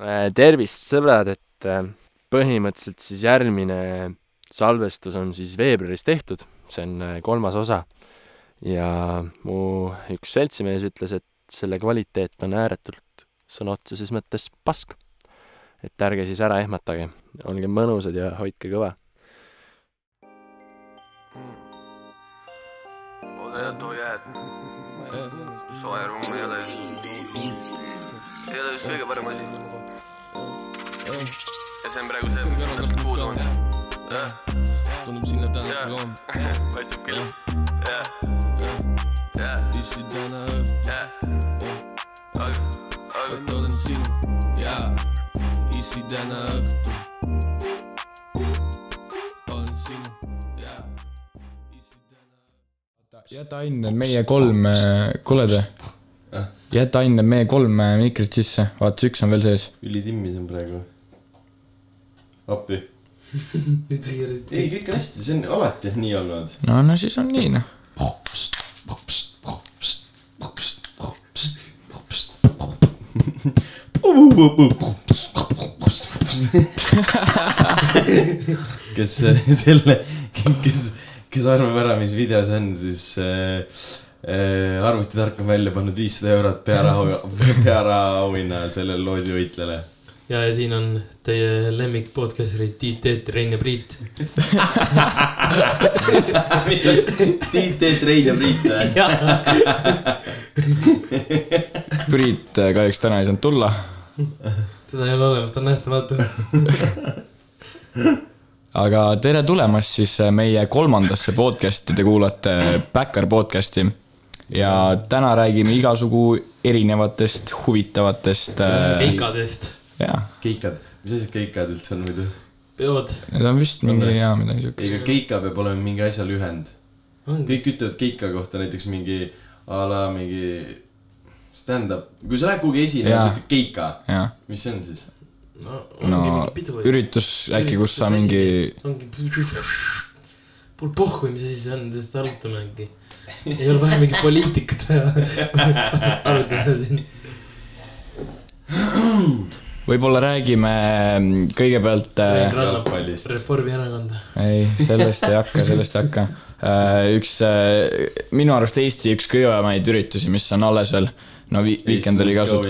Äh, Tervist, sõbrad, et äh, põhimõtteliselt siis järgmine salvestus on siis veebruaris tehtud, see on äh, kolmas osa. ja mu üks seltsimees ütles, et selle kvaliteet on ääretult sõna otseses mõttes pask. et ärge siis ära ehmatage, olge mõnusad ja hoidke kõva. Olettu jääd soe ruum ei ole ei ole just kõige parem asi ja see on praegu see mis täpselt puudu on jah tuleb sinna täna jah homme , paistab küll jah jah issi täna öö , jah aga aga et olen sinu ja issi täna õhtu . olen sinu ja issi täna . jäta Ain need meie kolm , kuuled või ? Ah. jäta Ain need meie kolm äh, mikrit sisse , vaata see üks on veel sees . ülitimmis on praegu . appi . ei , kõik on hästi , see on alati on nii olnud . no , no siis on nii noh . kes äh, selle , kes , kes arvab ära , mis video see on , siis äh, äh, arvutitark on välja pannud viissada eurot pearaha , pearaauhinna sellele loosivõitlejale . ja , ja siin on teie lemmik podcasterid Tiit , Teet , Rein ja Priit . Tiit , Teet , Rein ja Priit äh? või ? Priit äh, kahjuks täna ei saanud tulla , teda ei ole olemas , ta on nähtamatu . aga tere tulemast siis äh, meie kolmandasse podcast'i , te kuulate äh, Backer podcast'i . ja täna räägime igasugu erinevatest huvitavatest äh, , keikadest , jaa , keikad , mis asi keikad üldse on muidu ? peod , need on vist mingi jaa midagi siukest . ei , aga keika peab olema mingi asja lühend . on kõik ütlevad keika kohta näiteks mingi a la mingi stand-up , kui sa lähed kuhugi esinema , Jaa. sa ütled keika , jah , mis see on siis ? no, no ongi mingi pidu ju. üritus äkki , kus sa mingi , ongi mul pohhu , mis asi see on , sest alustame äkki . ei ole vaja mingit poliitikat vaja arutada siin . Äh, võib-olla räägime mm, kõigepealt äh, jalgpallist. Reformierakonda . ei , sellest ei hakka , sellest ei hakka . üks äh, minu arust Eesti üks kõvemaid üritusi , mis on alles veel . no vi- , Weekend oli ka suht ,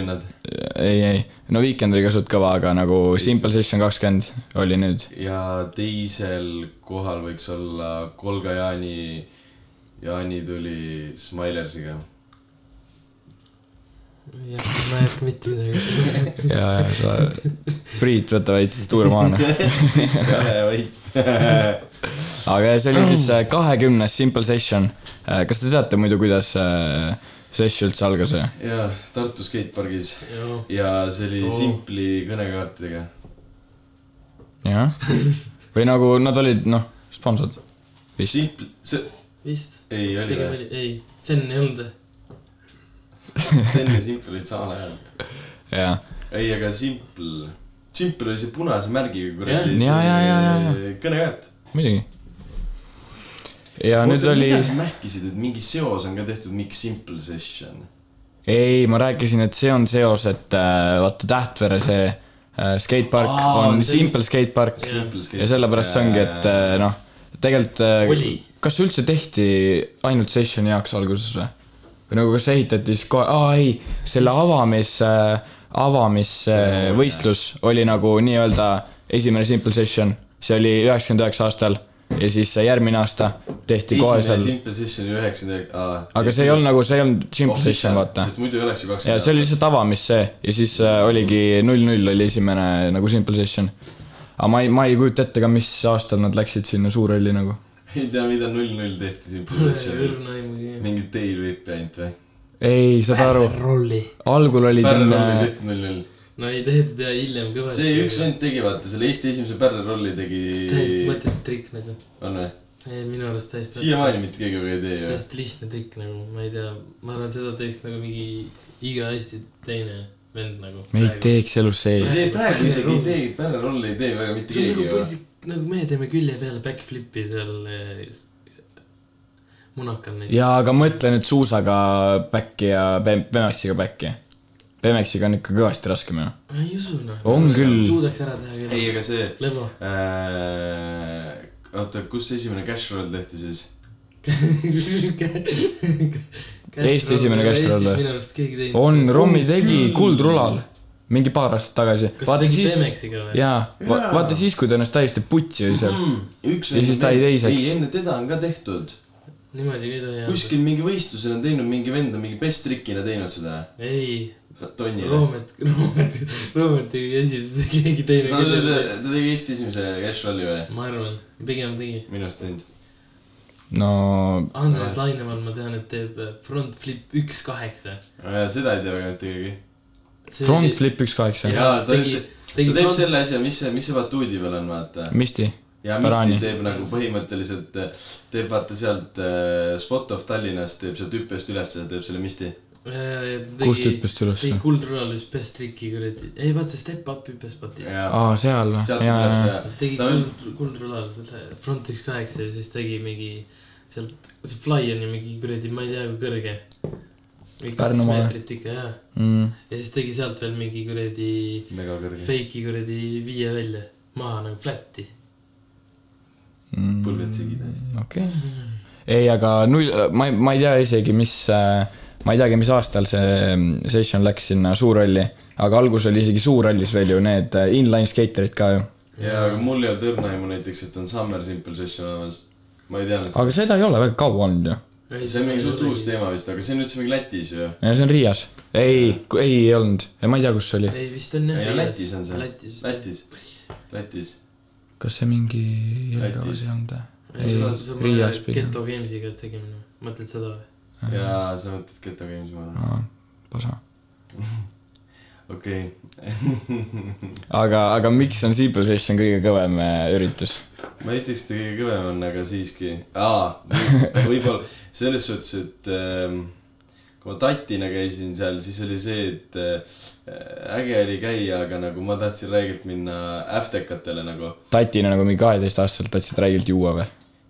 ei , ei , no Weekend oli ka suht kõva , aga nagu Simple Session kakskümmend oli nüüd . ja teisel kohal võiks olla Kolga Jaani , Jaani tuli Smilersiga . jah , ma ei hakka mitte midagi ütlema . ja , ja sa , Priit , võta väikse tuurmaana . aga see oli siis äh, kahekümnes Simple Session . kas te teate muidu , kuidas äh, session üldse algas ? ja Tartu skatepargis jah , ja see oli Oo. Oh. simpli kõnekaartidega . jah , või nagu nad olid , noh , sponsorid . vist , Simpl- , see , vist . ei oli pigem või ? oli , ei , Sten ei olnud . see enne Simpl olid samal ajal . jah ei , aga Simpl , Simpl oli see punase märgiga Jah. kuradi . Ja, ja, ja, ja, kõnekaart . muidugi . ja Oota, nüüd oli , mida sa märkisid , et mingi seos on ka tehtud , miks Simpl session ? ei , ma rääkisin , et see on seos , et äh, vaata Tähtvere see äh, skatepark Aa, on see- see... Simple skatepark Simple skate- ja sellepärast see ongi , et äh, noh , tegelikult äh, Oli. kas see üldse tehti ainult sessioni jaoks alguses või ? või nagu kas ehitati siis kohe , aa ei , selle avamis äh, , avamisvõistlus äh, oli nagu nii-öelda esimene Simple session , see oli üheksakümmend üheksa aastal ja siis äh, järgmine aasta tehti kohe esimene seal Simple session oli üheksakümmend . aga see ei olnud nagu , see ei olnud simple session , vaata . Oh, sest muidu ei oleks ju ja kakskümmend see oli . lihtsalt avamis see ja siis äh, oligi null-null oli esimene nagu simple session . aga ma ei , ma ei kujuta ette ka , mis aastal nad läksid sinna Suurhalli nagu . ei tea , mida null-null tehti Simple sessionil . õrna aimugi . mingit tailwhip'i ainult või ? ei , saad aru , rolli . algul olid Pärnu enne oli , tehtud null-null . no ei tehtud ja hiljem kõvasti . see üks . vend tegi , vaata , selle Eesti esimese Pärnu rolli täiesti tegi . mõttetu trikk nagu . on või ? ei , minu arust täiesti . siiamaani mitte keegi aga ei tee ju . täiesti lihtne trikk nagu , ma ei tea , ma arvan , seda teeks nagu mingi iga hästi teine vend nagu . me ei . teeks elus ei sees . tee praegu isegi ei tee , Pärnu rolli ei tee väga mitte see on keegi nagu ju . põsi- , nagu me teeme külje peale backflip'i seal eh, s- munakal näiteks . jaa , aga mõtle nüüd suusaga back'i ja pem- , pemassiga back'i . Remexiga on ikka kõvasti raskem ju . ma ei usu noh . On küll. suudaks ära teha küll . ei , aga see Levo . äh, , oota , kus see esimene cash roll tehti siis ? Eesti esimene Cash Roll või? Eestis minu arust keegi teinud . on , Rommi tegi Kuldrulal mingi paar aastat tagasi . kas ta vaata tegi siis , Pemexiga või ? Mm. jaa , vaata siis , kui ta ennast täiesti putsi oli seal . Hmm, üks Ja siis ta jäi teiseks. ei , enne teda on ka tehtud . niimoodi ei tohi kuskil mingi võistlusel on teinud mingi vend on mingi best trikina teinud seda . ei , tonnile . Roomet , Roomet , Roomet tegi esimesest , keegi teine ta ta- küll . ta- ta tegi Eesti esimese cash rolli või ? ma arvan , pigem tegi . minu arust teinud . no Andres Lainemaa , ma tean , et teeb äh, front flip üks kaheksa . seda ei tea väga mitte keegi . front flip üks kaheksa , Jaa, jaa , ta tegi , ta tegi teeb front , selle asja , mis see , mis see batuudi peal on , vaata . Misti . ja Tarani. Misti teeb nagu põhimõtteliselt , teeb vaata sealt äh, Spot of Tallinnast , teeb sealt hüppest üles ja teeb selle Misti . Äh, ta kust tegi , hüppas ta ülesse tegi ? kuldrullalist best trick'i kuradi , ei vaata see step up hüppas pati . ja aa , seal või ? sealt jaa , üles jaa , ja tegi Ta- kuld , kuldrullal selle front üks kaheksa ja siis tegi mingi sealt , see fly on ju mingi kuradi , ma ei tea kui kõrge . mingi kaks Pärnumaa või? meetrit ikka jah , jaa . ja siis tegi sealt veel mingi kuradi mega kõrge . fake'i kuradi viie välja , maha nagu flat'i . pulbrid segi täiesti . mm. okei okay. . ei , aga null , ma ei , ma ei tea isegi , mis , ma ei teagi , mis aastal see mm, session läks sinna Suurhalli , aga algus oli isegi Suurhallis veel ju need äh, inline skaterid ka ju . ja , aga mul ei olnud õrna aimu näiteks , et on Summer Simple Session olemas . ma ei teadnud aga seda ei ole väga kaua olnud ju . see on mingi suht uus teema vist , aga see on üldse mingi Lätis ju . ja see on Riias . ei , ei ei olnud , ma ei tea , kus see oli . ei vist on jah . ei , Lätis on see . Lätis vist . Lätis , Lätis . kas see mingi Jelgavas ei olnud või ? ei , Riias pigem . Geto Games'iga tegemine , mõtled seda või ? ja sa mõtled Geto Games , ma arvan . aa , pasa . okei okay. , aga , aga miks on Simple Session kõige kõvem äh, üritus ? ma ei ütleks , et ta kõige kõvem on , aga siiski , aa , võib-olla selles suhtes , et ähm, kui ma tatina käisin seal , siis oli see , et äh, äge oli käia , aga nagu ma tahtsin räigelt minna äftekatele nagu . tatina nagu mingi kaheteistaastaselt tahtsid räigelt juua või ?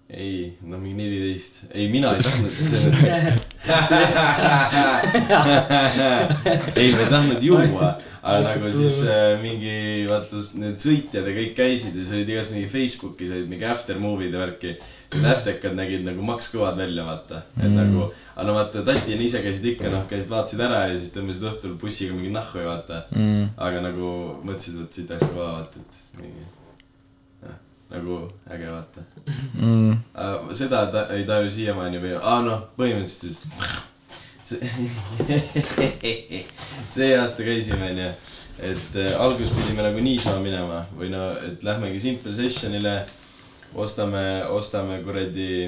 ei , no mingi neliteist , ei mina ei tahtnud . ei , ma ei tahtnud juua , aga nagu siis äh, mingi vaata s- need sõitjad ja kõik käisid ja siis olid igas mingi Facebookis olid mingi after movie'd ja värki . Need aftekad nägid nagu makskõvad välja , vaata , et mm. nagu , aga no vaata , tatina ise käisid ikka noh , käisid , vaatasid ära ja siis tõmbasid õhtul bussiga mingi nahhu ja vaata mm. . aga nagu mõtlesid , et siit oleks kõva vaata , et mingi noh , nagu äge vaata . Mm. Äh, seda ta ei taju siiamaani või , aa noh , põhimõtteliselt siis . see aasta käisime onju , et äh, alguses pidime nagu niisama minema või no , et lähmegi Simple Sessionile , ostame , ostame kuradi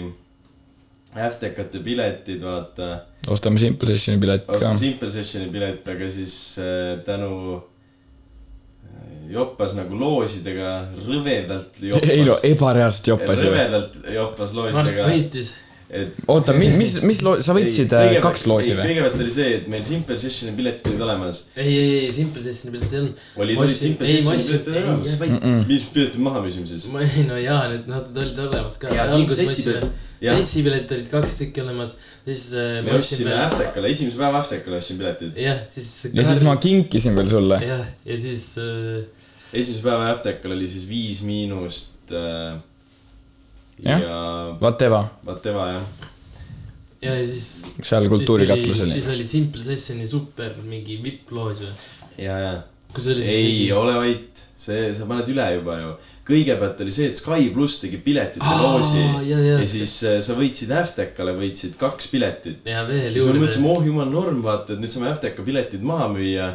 Aftekate piletid , vaata . ostame Simple Sessioni pilet ka ostame . Simple Sessioni pilet , aga siis äh, tänu äh, joppas nagu loosidega , rõvedalt ei no joppas . ebareaalselt joppas ju . rõvedalt joppas Mart loosidega võitis , et oota , mis , mis , mis loo- , sa võtsid Ei, äh, kõigepealt- kaks loosi ei, või ? kõigepealt oli see , et meil Simple Sessioni piletid olid olemas . ei , ei , ei , Simple Sessioni pilet ei olnud . olid , olid Simple ei , Sessioni ma ostsin , piletid ei , olemas jää . vait . mis piletid maha müüsime siis ? ma ei , no jaa , need , nad olid olemas ka . Jaa, Simple Sessi pilet- jah. Sessi pilet olid kaks tükki olemas , siis äh, me ostsime . Aftekale , esimese päeva Aftekale ostsime piletid . jah , siis . ja siis ma . kinkisin veel sulle . jah , ja siis äh, esimese päeva Aftekal oli siis Viis Miinust äh, . Jah. ja Whatever , Vateva jah . ja siis . seal kultuurikatlas oli . siis oli Simple Sessioni super mingi vipp-loos või ? ja , ja . kus oli ei . ole vait , see , sa paned üle juba ju . kõigepealt oli see , et Sky pluss tegi piletite loosi . ja , ja ja , siis äh, sa võitsid Aftekale , võitsid kaks piletit . ja veel siis me mõtlesime , juurde . oh jumal norm , vaata , et nüüd saame FTK piletid maha müüa .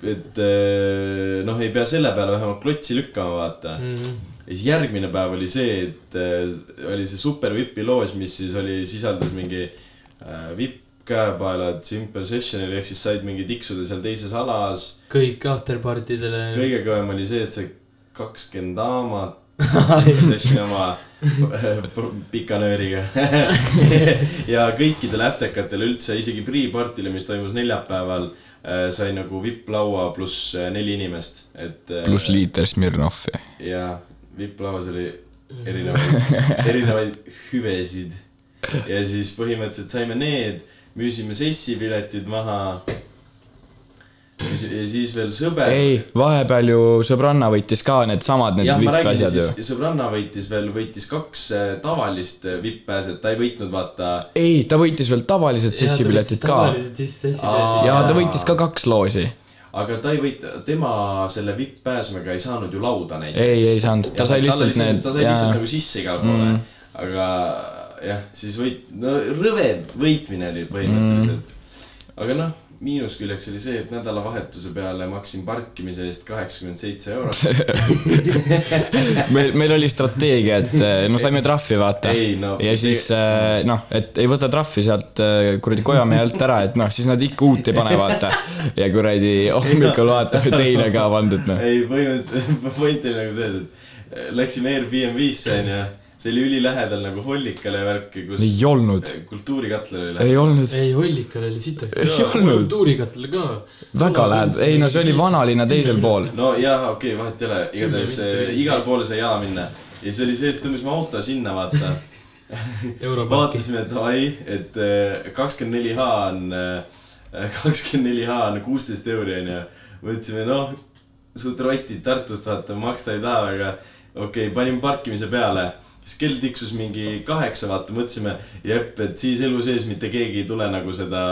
et eh, noh , ei pea selle peale vähemalt klotsi lükkama , vaata . Mm. ja siis järgmine päev oli see , et eh, oli see super vipi loos , mis siis oli , sisaldas mingi äh, vipp , käepaelad , simple session'il ehk siis said mingi tiksuda seal teises alas . kõik afterparty dele . kõige kõvem oli see , et see kakskümmend daamat sessiooni oma eh, pr- pika nööriga ja kõikidele äftekatele üldse , isegi pre-party'le , mis toimus neljapäeval , sai nagu vipplaua pluss äh, neli inimest , et . pluss . liiter Smirnovi . ja vipplauas oli erinevaid , erinevaid hüvesid . ja siis põhimõtteliselt saime need , müüsime sessipiletid maha . ja siis veel sõber . ei , vahepeal ju sõbranna võitis ka needsamad need jah , ma räägin vippasjad ju . siis , sõbranna võitis veel , võitis kaks äh, tavalist äh, vipp-pääset , ta ei võitnud vaata . ei , ta võitis veel tavalised sessipiletid ka . tavaliselt siis sessipiletid . ja ta võitis ka kaks loosi . aga ta ei võit- , tema selle vipp-pääsmega ei saanud ju lauda näiteks . ei , ei saanud , ta sai lihtsalt need ta , sai jaa lihtsalt , nagu sisse igale poole mm. , aga jah , siis võit- , no rõve võitmine oli põhimõtteliselt mm. . aga noh , miinusküljeks oli see , et nädalavahetuse peale maksin parkimise eest kaheksakümmend seitse eurot . meil , meil oli strateegia , et eh, no saime trahvi , vaata . Ei, no, ja see- siis eh, noh , et ei võta trahvi sealt eh, kuradi kojamehe alt ära , et noh , siis nad ikka uut ei pane , vaata . ja kuradi hommikul vaatab , et eile ka pandud , noh . ei , põhimõtteliselt point oli nagu see , et läksime Airbnb-sse onju , see oli ülilähedal nagu Hollikale värki , kus ei olnud , kultuurikatlal oli ei olnud , ei , Ollikal oli sitaks . Ei olnud. kultuurikatel ka . väga lähedal , ei no see oli . vanalinna teisel pool . no jah , okei okay, , vahet ei ole , igatahes Kümme minutit eh, oli. igale poole sai jala minna ja siis oli see , et tõmbasime auto sinna , vaata europarki . vaatasime davai , et äh, kakskümmend neli H on , kakskümmend neli H on kuusteist euri onju . mõtlesime noh , suht rotid Tartust vaata , maksta ei taha , aga okei okay, , panime parkimise peale . siis kell tiksus mingi kaheksa , vaata , mõtlesime , jep , et siis elu sees mitte keegi ei tule nagu seda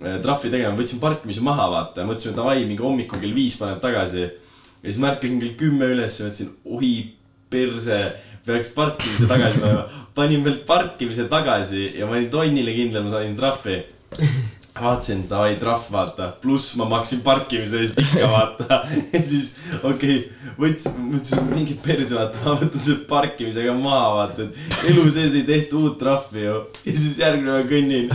äh, trahvi tegema , võtsin parkimise maha , vaata , mõtlesime davai , mingi hommikul kell viis paneb tagasi . ja siis märkasin kell kümme ülesse , mõtlesin oi perse , peaks parkimise tagasi panema . panin veel parkimise tagasi ja ma olin tonnile kindel , ma sain trahvi . vaatasin , davai trahv , vaata , pluss ma maksin parkimise eest ikka , vaata . ja siis okei okay, , võtsin , mõtlesin mingi perse , vaata , ma võtan selle parkimisega maha , vaata , et elu sees ei tehta uut trahvi ju . ja siis järgmine päev kõnnin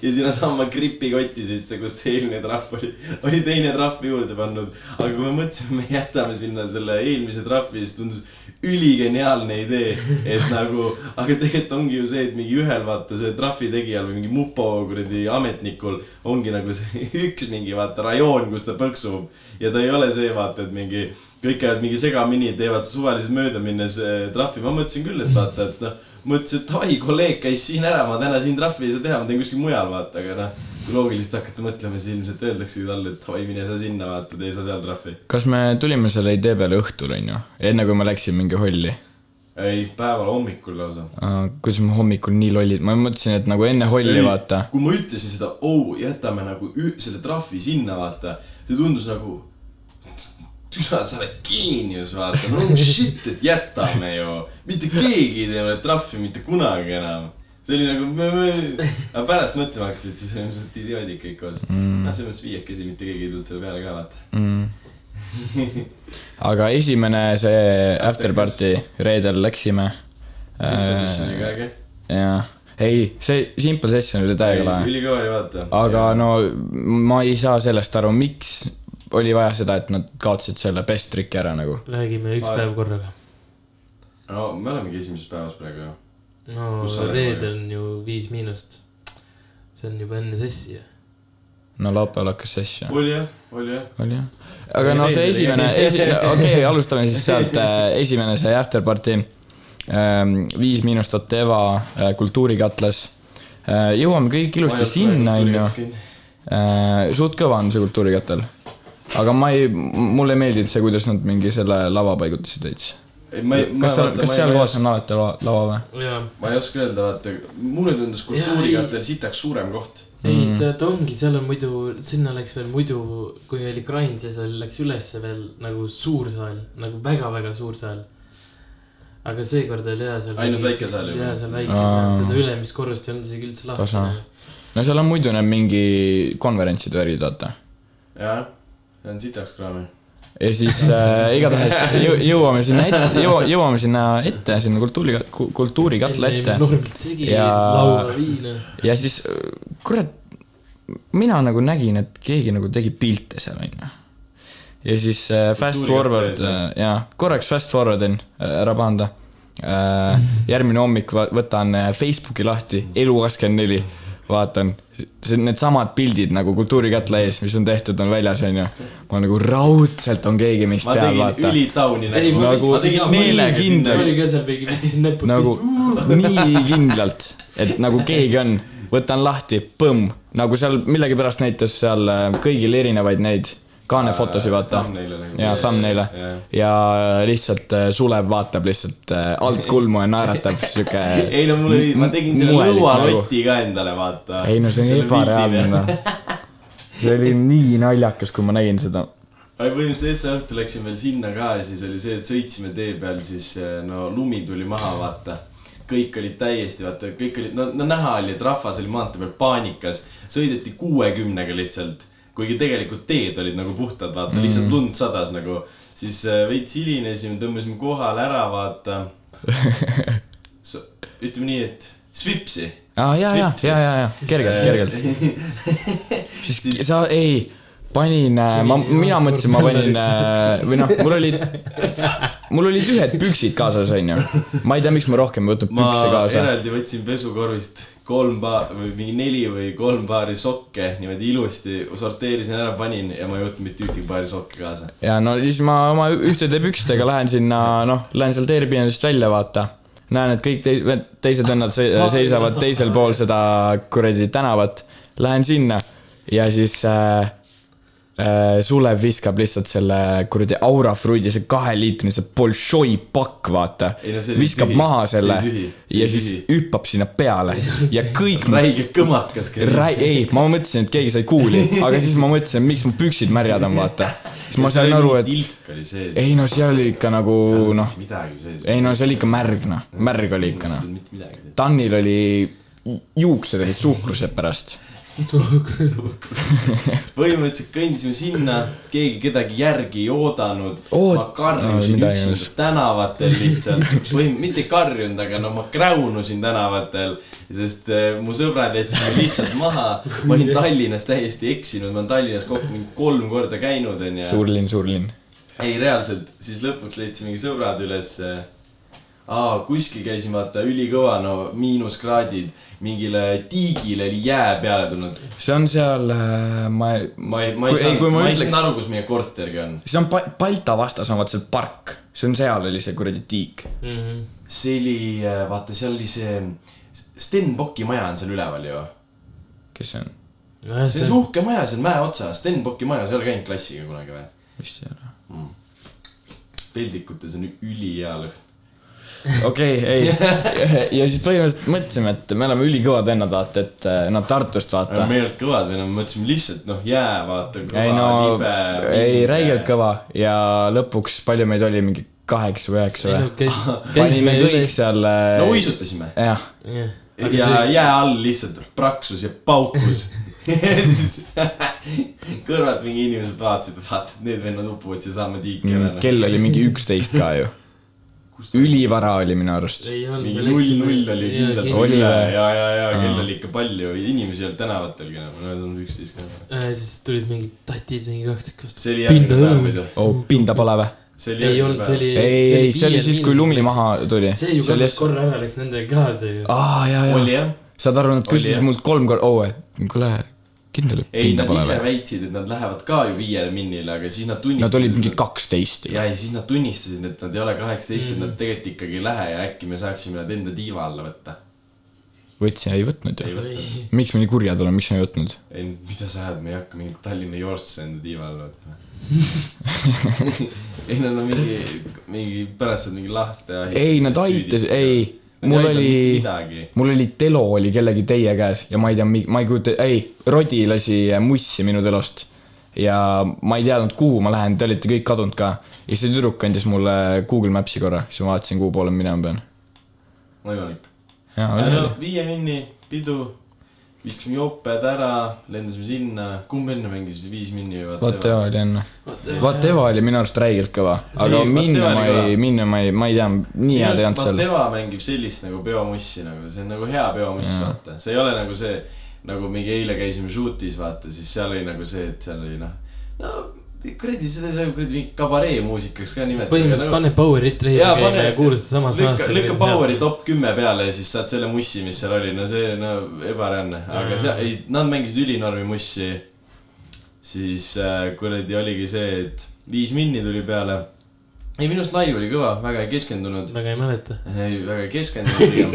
ja sinnasamma gripikotti sisse , kus see eelmine trahv oli , oli teine trahv juurde pannud . aga kui me mõtlesime , me jätame sinna selle eelmise trahvi , siis tundus üligeniaalne idee , et nagu , aga tegelikult ongi ju see , et mingi ühel vaata see trahvi tegijal või mingi mupo kuradi ametnikul ongi nagu see üks mingi vaata rajoon , kus ta põksub ja ta ei ole see vaata , et mingi kõik käivad mingi segamini , teevad suvaliselt mööda minnes äh, trahvi , ma mõtlesin küll , et vaata , et noh , mõtlesin , et davai , kolleeg käis siin ära , ma täna siin trahvi ei saa teha , ma teen kuskil mujal vaata , aga noh , kui loogiliselt hakata mõtlema , siis ilmselt öeldaksegi talle , et davai , mine sa sinna vaata , tee sa seal trahvi . kas me tulime selle idee peale õhtul , onju , enne kui ma läksin mingi holli ? ei , päeval hommikul lausa . kuidas ma hommikul nii lollid , ma mõtlesin , et nagu enne holli , vaata . kui ma ütlesin seda , oo , jätame nagu ü- selle trahvi sinna , vaata , see tundus nagu . türa , sa oled geenius , vaata , no shit , et jätame ju . mitte keegi ei tee mulle trahvi mitte kunagi enam . see oli nagu , aga pärast mõtlema hakkasid , siis olime suht idioodid kõik koos mm. . noh , selles mõttes viiekesi mitte keegi ei tulnud selle peale ka , vaata . aga esimene see after party reedel läksime . sessioon oli ka äge . jah , ei , see Simple Session oli täiega lahe , ülikõva oli , vaata . aga no ma ei saa sellest aru , miks oli vaja seda , et nad kaotasid selle best trick'i ära nagu . räägime üks Aeg. päev korraga . no me olemegi esimeses päevas praegu ju . no Kus sa oled, reedel on ju Viis Miinust . see on juba enne sessi ju . no laupäeval hakkas session , oli jah , oli jah . oli jah . aga no see esimene , esi- , okei okay, , alustame siis sealt , esimene see after party . Viis Miinust Oteva äh, kultuurikatlas . jõuame kõik ilusti sinna , onju . Äh, suht kõva on see kultuurikatel . aga ma ei , mulle ei meeldinud see , kuidas nad mingi selle lava paigutasid veits . ei , ma ei , ma kas seal , kas seal kohas on alati lava, lava või ? jaa ma ei oska öelda , vaata , mulle tundus kultuurikatel sitaks suurem koht . ei , Mm. ta , ta ongi , seal on muidu , sinna läks veel muidu , kui oli grind , siis oli- läks ülesse veel nagu suur saal , nagu väga-väga suur saal . aga seekord oli hea seal . Ainult väike saal oli oli. . jaa , seal väike Aa. saal , seda ülemist korrust ei olnud isegi üldse lahti noh. Tasa. . no seal on muidu need mingi konverentside värgid , vaata . jah , see on sitaks kraami . ja siis äh, igatahes jõu- jõuame sinna ette , jõua- , jõuame sinna ette , sinna kultuuri , kultuurikatla ette . normid segi ja... , Ja- laua viina . ja siis , kurat , mina nagu nägin , et keegi nagu tegi pilte seal , onju . ja siis äh, fast Kultuuriga forward äh, sees, , jaa , korraks fast forward in , ära pahanda äh, . järgmine hommik va- võtan äh, Facebooki lahti , elu24 , vaatan , see , needsamad pildid nagu Kultuurikatla ees , mis on tehtud , on väljas , onju . ma nagu raudselt on keegi meist ma teab , tegin vaata . ülitauni ei , nägu ma . Nagu- nagu, tegin nii meelega kindel. kindel . ma olin ka seal mingi , viskasin näpud nagu nii kindlalt , et nagu keegi on , võtan lahti , põmm , nagu seal millegipärast näitas seal äh, kõigil erinevaid neid kaanefotosid , vaata . Äh, Thumbnail'e nagu . jaa , thumbnail'e . ja lihtsalt äh, Sulev vaatab lihtsalt äh, altkulmu ja naeratab , sihuke . ei no mul oli , ma tegin selle lõualoti ka endale , vaata . nagu. ei no see on ebareaalne noh . see oli nii naljakas , kui ma nägin seda . ei põhimõtteliselt see õhtu läksin veel sinna ka ja siis oli see , et sõitsime tee peal , siis äh, no lumi tuli maha , vaata . kõik olid täiesti , vaata , kõik olid , no , no näha oli , et rahvas oli maantee peal paanikas . sõideti kuuekümnega lihtsalt , kuigi tegelikult teed olid nagu puhtad , vaata mm. , lihtsalt lund sadas nagu . siis äh, veits hilinesime , tõmbasime kohale ära , vaata so, . ütleme nii , et svipsi . aa , ja , ja , ja , ja , ja kergelt , Ah, kergelt . Äh, siis sa , ei , panin , ma , mina mõtlesin , ma panin äh, või noh , mul olid , mul olid ühed püksid kaasas , onju . ma ei tea , miks ma rohkem ei võtnud ma pükse kaasa . eraldi võtsin pesukorvist kolm paar või mingi neli või kolm paari sokke niimoodi ilusti sorteerisin ära , panin ja ma ei võtnud mitte ühtegi paari sokke kaasa . ja no siis ma oma ühtede pükstega lähen sinna , noh , lähen sealt Airbnb'st välja , vaata . näen , et kõik te teised vennad se seisavad teisel pool seda kuradi tänavat . Lähen sinna ja siis äh, äh, Sulev viskab lihtsalt selle kuradi Aura Fruidi , see kaheliitrise Bolšoi pakk , vaata Ei no see . oli viskab tühi, maha see oli selle tühi, see ja oli siis tühi. hüppab sinna peale ja kõik mu räige kõmakas Rai- , ei , ma mõtlesin , et keegi sai kuuli , aga siis ma mõtlesin , miks mu püksid märjad on , vaata . siis ma sain aru , et tilk oli sees , ei no seal oli ikka nagu noh , midagi sees . ei no see oli ikka märg noh , märg oli ikka noh . mitte midagi sees . Tannil oli juuksed olid suhkrused pärast . põhimõtteliselt kõndisime sinna , keegi kedagi järgi ei oodanud Oo, oh, . ma karjusin mida no, iganes. üksinda tänavatel lihtsalt või mitte ei karjunud , aga no ma kräunusin tänavatel , sest eh, mu sõbrad jätsid mind lihtsalt maha . ma olin Tallinnas täiesti eksinud , ma olen Tallinnas kokku mingi kolm korda käinud , onju . suur linn , suur linn . ei , reaalselt , siis lõpuks leidsimegi sõbrad ülesse . aa , kuskil käisime , vaata , ülikõva , no miinuskraadid , mingile tiigile oli jää peale tulnud . see on seal , ma , ma ei , ma ei Kui- ei, saanud , kui ma ma ei ütleks- saanud aru , kus meie kortergi on . see on pa- , Balta vastas on vaat see park , see on seal oli see kuradi tiik . -hmm. see oli , vaata , seal oli see , Stenbocki maja on seal üleval ju . kes see on ? nojah , see on see see uhke maja seal mäe otsas , Stenbocki maja , sa ei ole käinud klassiga kunagi või ? vist ei ole . peldikutes on ülihea lõhn . okei , ei . ja siis põhimõtteliselt mõtlesime , et me oleme ülikõvad vennad , vaata , et eh, noh , Tartust vaata aga . me ei olnud kõvad või noh , me mõtlesime lihtsalt noh , jää vaata . ei no , ei räigelt . kõva ja lõpuks palju meid oli , mingi kaheksa või üheksa või ? panime käisime üle kõik , seal . no . uisutasime jah , jah , ja see... jää all lihtsalt praksus ja paukus . kõrvalt mingi inimesed vaatasid , et vaata , et need vennad upuvad siiasama tiiki ära . mm, noh. kell oli mingi üksteist ka ju . ülivara oli minu arust . ei olnud . mingi null null oli kindlalt kindlalt. üle Oli ja , või? ja , ja kell oli ikka palju , inimesi ei olnud tänavatelgi enam , nad on üksteist ka . Äh, siis tulid mingid tatid mingi kaksikust . see oli Pinda järgmine ei ole päev muidu. muidu . oh , pinda pole või ? see oli ei järgmine olnud , see oli . ei , ei , see oli siis , kui lumi . maha tuli . see ju kadus . korra ära , läks nendega kaasa ju . aa , ja , päev . oli ja . jah . saad aru , nad küsisid jah. mult kolm korda , oo , et kuule , kindel , et ei , pinda nad pole ise või ? väitsid , et nad lähevad ka ju viiele minnile , aga siis nad tunnistasid . Nad olid mingi . kaksteist ju . ja , ja siis nad tunnistasid , et nad ei ole kaheksateist , Mhm. et nad tegelikult ikkagi ei lähe ja äkki me saaksime nad enda tiiva alla võtta . võtsin , ei võtnud ei ju . võta . miks me nii kurjad oleme , miks me ei võtnud ? ei , mida sa ajad , me ei hakka mingit Tallinna Yorsse enda tiiva alla võtma . ei , nad on mingi , mingi pärast saad mingi laste . ei , nad aitasid , ei , mul oli , mul oli telo oli kellegi teie käes ja ma ei tea , ma ei kujuta , ei , Rodi lasi mussi minu telost . ja ma ei teadnud , kuhu ma lähen , te olite kõik kadunud ka . ja see tüdruk andis mulle Google Maps'i korra , siis ma vaatasin , kuhu poole ma minema pean . võimalik . jaa , oli , no oli . viie minni pidu , viskasime joped ära , lendasime sinna , kumb enne mängis viis minni või What ? Eva oli enne . What vaata . Eva oli minu arust räigelt kõva , aga Ei, What minna Eva ma oli ei , minna ma ei , ma ei tea , nii minu head ei arust olnud seal . Mateva mängib sellist nagu peomussi nagu , see on nagu hea peomuss , vaata , see ei ole nagu see , nagu mingi eile käisime Shootis , vaata , siis seal oli nagu see , et seal oli noh , no kuradi , seda saab kuradi mingi kabareemuusikaks ka nimetada . põhimõtteliselt pane Powerit leia jaa , käima pane ja kuula seda samas lükka , aastas . lükka Poweri top kümme peale ja siis saad selle mussi , mis seal oli , no see , no ebareaalne , aga see , ei , nad mängisid ülinormi mussi . siis äh, kuradi oligi see , et viis minni tuli peale , ei , minu arust live oli kõva , väga ei keskendunud . väga ei mäleta . ei , väga ei keskendunud pigem .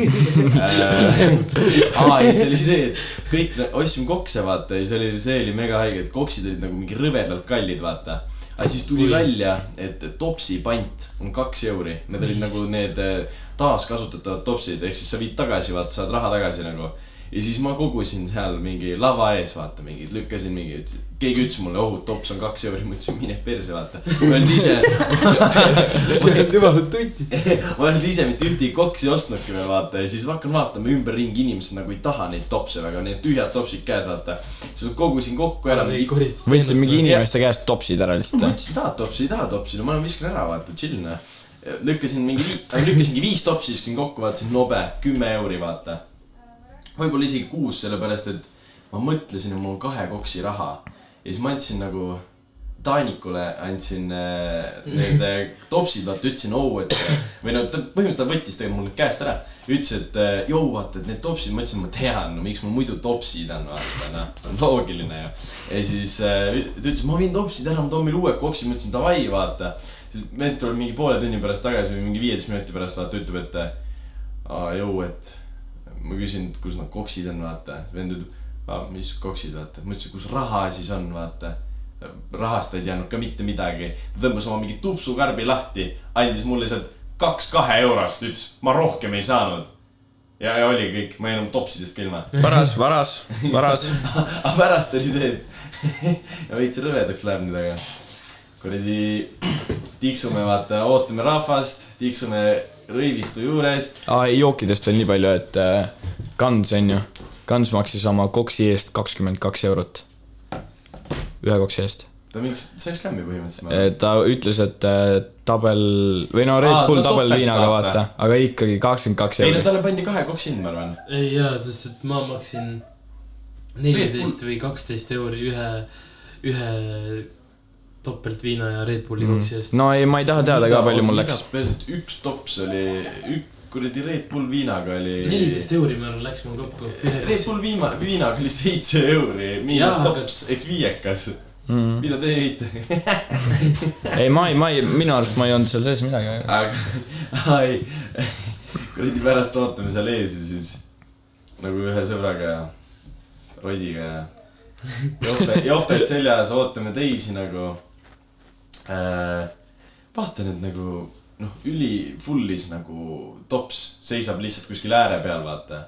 aa , ei , see oli see , et kõik , ostsime kokse , vaata , ja see oli , see oli mega haige , et koksid olid nagu mingi rõvedalt kallid , vaata . aga siis tuli Oi. välja , et topsi pant on kaks euri , need olid nagu need eh, taaskasutatavad topsid , ehk siis sa viid tagasi , vaata , saad raha tagasi nagu . ja siis ma kogusin seal mingi lava ees , vaata , mingi , lükkasin mingi , keegi ütles mulle , oh , tops on kaks euri , ma ütlesin , mine perse , vaata . ma olin ise see on jumala tutid . ma olen ise mitte ühtegi koksi ostnudki veel vaata ja siis ma hakkan vaatama ümberringi , inimesed nagu ei taha neid topse väga , need tühjad topsid käes vaata . siis ma kogusin kokku ära mingi , koristus . võtsid mingi . inimeste käest topsid ära lihtsalt ma või ? ütlesin , tahad topsi , ei taha topsi , no ma viskan ära vaata , chill noh . lükkasin mingi , lükkasingi viis topsi , viskasin kokku , vaatasin nobe , kümme euri vaata . võib-olla isegi kuus , sellepärast et ma mõtlesin , et mul on kahe koksi raha ja siis ma andsin nagu Taanikule andsin äh, need äh, topsid , vaata ütlesin oo , et või no ta põhimõtteliselt ta võttis tegelikult mul need käest ära . ütles , et äh, joo , vaata , et need topsid , ma ütlesin , ma tean , no miks mul muidu topsid on , vaata noh , on loogiline ju . ja siis äh, ü- ta ütles , ma viin topsid ära , ma toon meile uue koksi , ma ütlesin davai , vaata . siis vend tuleb mingi poole tunni pärast tagasi või mingi viieteist minuti pärast , vaata ütleb , et äh, aa jõu , et ma küsin , et kus need koksid on , vaata . vend ütleb , aa mis koksid , vaata . ma ütlesin , kus raha siis on , vaata . rahast ei teadnud ka mitte midagi . ta tõmbas oma mingi tupsukarbi lahti , andis mulle sealt kaks kahe eurost , ütles , ma rohkem ei saanud . ja , ja oli kõik , ma jäin oma topsidest ka ilma . varas , varas , varas . aga pärast oli see , et ja veits rõvedaks läheb nüüd , aga kuradi tiksume , vaata , ootame rahvast , tiksume rõivistu juures . aa , ei jookidest veel nii palju , et äh, Guns on ju . Guns maksis oma koksi eest kakskümmend kaks eurot . ühe koksi eest . ta mingi , see on skämmi põhimõtteliselt . ta ütles , et äh, tabel või no Aa, Red Bull no tabel topelt viinaga vaata. vaata , aga ikkagi kakskümmend kaks ei no eurot . talle pandi kahe koks hind , ma arvan . ei jaa , sest et ma maksin neliteist või kaksteist euri ühe , ühe topeltviina ja Red Bulli koksi eest . Mm. no ei , ma ei taha teada ka , palju mul läks .. üks tops oli , kuradi Red Bull viinaga oli . neliteist euri ma arvan läks mul kokku . Red Bull viima- , viinaga oli seitse euri , miinus Jaa, aga- tops , eks viiekas . Mm. mida te heite ? ei , ma ei , ma ei , minu arust ma ei olnud seal sees midagi . aga , ai , kuradi pärast ootame seal ees ja siis nagu ühe sõbraga ja Rodiga ja jope , joped seljas , ootame teisi nagu äh, . vaatan , et nagu noh , üli full'is nagu tops seisab lihtsalt kuskil ääre peal , vaata .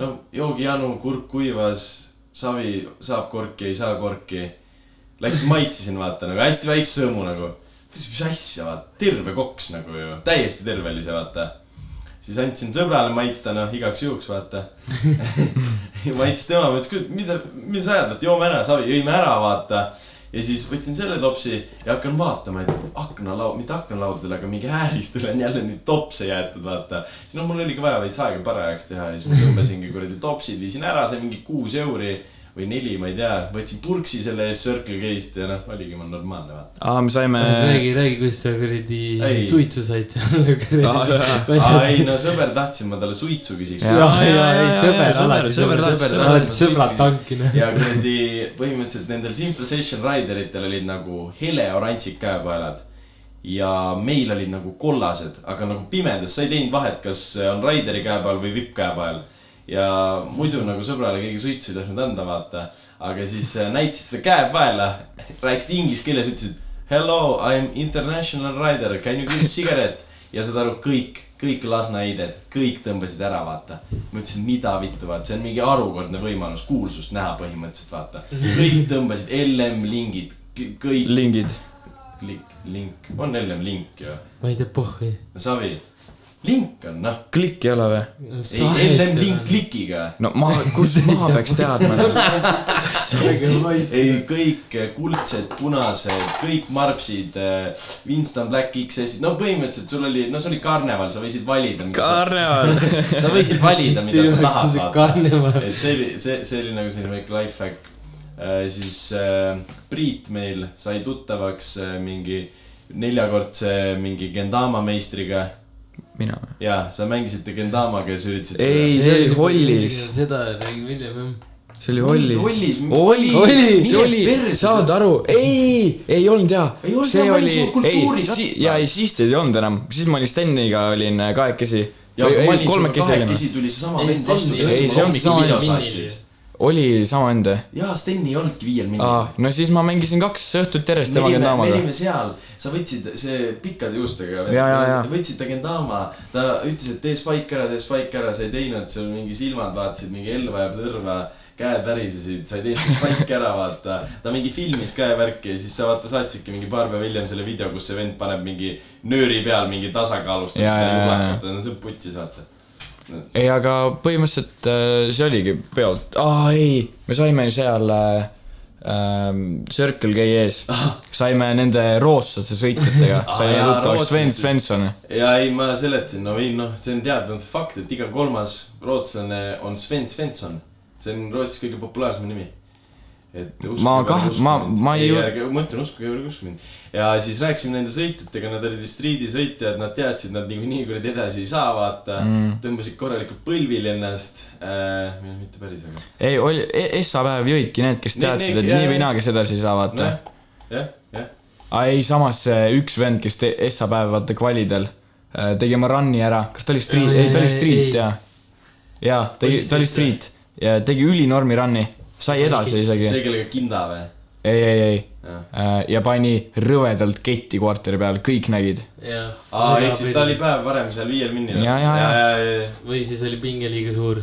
no joogijanu , kurk kuivas , savi saab korki , ei saa korki . Läksin maitsesin , vaata nagu hästi väikse sõõmu nagu . mis , mis asja , vaata , terve koks nagu ju , täiesti terve oli see , vaata . siis andsin sõbrale maitsta , noh , igaks juhuks , vaata . maitses tema , ma ütlesin , mida , mida sa ajad , et joome ära , savi , jõime ära , vaata . ja siis võtsin selle topsi ja hakkan vaatama , et aknalaud , mitte aknalaudadele , aga mingi ääristel on jälle neid topse jäetud , vaata . siis no mul oli ka vaja veits aega parajaks teha ja siis ma tõmbasingi kuradi topsid , viisin ära , see mingi kuus euri või neli , ma ei tea , võtsin purksi selle eest Circle K-st ja noh , oligi mul normaalne , vaata . aa , me saime . räägi , räägi , kuidas sa kuradi Äh, nagu Ei. suitsu said Aa, jaa. Aa, ei seal . no sõber tahtsin , ma talle suitsu küsiks . Jaa. jah , jaa, jaa , jaa, ei jaa, sõber sõber- alati , sõber sõber , tahtis- sõber sõber alati noh. tahtis sõbrad suitsu tankina . ja kuradi , põhimõtteliselt nendel Simple Session Rideritel olid nagu heleoranžid käepaelad . ja meil olid nagu kollased , aga nagu pimedas , sa ei teinud vahet , kas on Rideri käepael või vipp käepael . ja muidu nagu sõbrale keegi suitsu ei tahtnud anda , vaata . aga siis äh, näitasid seda käepaela , rääkisid inglise keeles , ütlesid hello , I am international rider , can you give me cigarette ? ja saad aru , kõik , kõik Lasna heided , kõik tõmbasid ära , vaata . ma ütlesin , mida vittu , vaata , see on mingi harukordne võimalus kuulsust näha põhimõtteliselt , vaata . kõik tõmbasid LM lingid , kõik . lingid . link , link , on LM link ju , ma ei tea , pohhi . savi . link on noh , klikk ei ole või ? ei LM noh. link . klikiga no ma , kust ma peaks teadma ? ei , kõik eh, kuldsed , punased , kõik marpsid , Winston Black XS-id , no põhimõtteliselt sul oli , no see oli karneval , sa võisid valida . karneval . sa võisid valida , mida sa tahad vaata . vaata . et see oli , see , see oli nagu selline väike life hack . siis äh, Priit meil sai tuttavaks äh, mingi neljakordse mingi Gendama meistriga mina . ja sa mängisite Gendamaga ja sa üritasid . Ei, see oli Hollis. seda räägib hiljem jah . see oli Hollis . rollis . oli, Oli! see oli , saad aru , ei , ei olnud jaa . Ei olnud jaa, me olime sinuga kultuurist si, . sitta. ja ei , siis teid ei olnud enam , siis ma olin Steniga olin äh, kahekesi . ja kui ma olin sinuga kolmekesi olime . kahekesi , tuli seesama Ei, vend Sten vastu ei ja olnud. siis Ei, see ma on hommikul video sama vend saatsin nimi. . oli sama vend või ? jaa , Sten ei olnudki viiel minul aa , no siis ma mängisin kaks õhtut järjest me tema olime , me Kendamaga . olime seal , sa võtsid see pikkade juustega Ja, ja, ja. , võtsid ta Gendama , ta ütles , et tee spike ära , tee spike ära , sa ei teinud , sul mingi silmad vaatasid mingi elva ja tõrva , käed värisesid , sa ei teinud spike ära , vaata . ta mingi filmis ka ja värki ja siis sa vaata saatsidki mingi paar päeva hiljem selle video , kus see vend paneb mingi nööri peal mingi tasakaalustamise Ja, ja, ja, ja. jumalakalt , no see on putsis , vaata . ei , aga põhimõtteliselt äh, see oligi peolt , aa ei , me saime ju seal äh, äh, Circle K ees , saime nende rootslaste sõitjatega , Aa, saime jaa, tuttavaks Sven rootslased. Svensson . ja ei , ma seletasin , no ei noh , see on teadnud fakt , et iga kolmas rootslane on Sven Svensson . see on Rootsis kõige populaarsem nimi . et uskuge Ma või kah- ärge usku ma- mind. ma ei ei ju- ärge , ma ütlen , uskuge , ärge uskuge mind . ja siis rääkisime nende sõitjatega , nad olid vist riidisõitjad , nad teadsid , nad niikuinii kuradi edasi ei saa , vaata mm. . tõmbasid korralikult põlvili ennast äh, . mitte päris , aga . ei , oli , Essa päev jõidki need , kes Nii- teadsid , nii- et jaa, Noh. nii või jaa. naa , kes edasi ei saa , vaata nojah , jah , jah . aa ei , samas see üks vend , kes te- , Essa päev vaata kvalidel äh, tegi oma run'i ära , kas ta oli street , Jaa, ei ta jaa, oli jaa, street ei. jaa . jaa , tegi Oli , ta oli street street, ja tegi ülinormi run'i , sai edasi isegi . see , kellega kinda või ? ei , ei , ei jah . Äh, ja pani rõvedalt ketti korteri peal , kõik nägid . jah . aa , ehk siis ta oli päev varem seal viiel minnil . Ja, ja, ja. ja . või siis oli pinge liiga suur .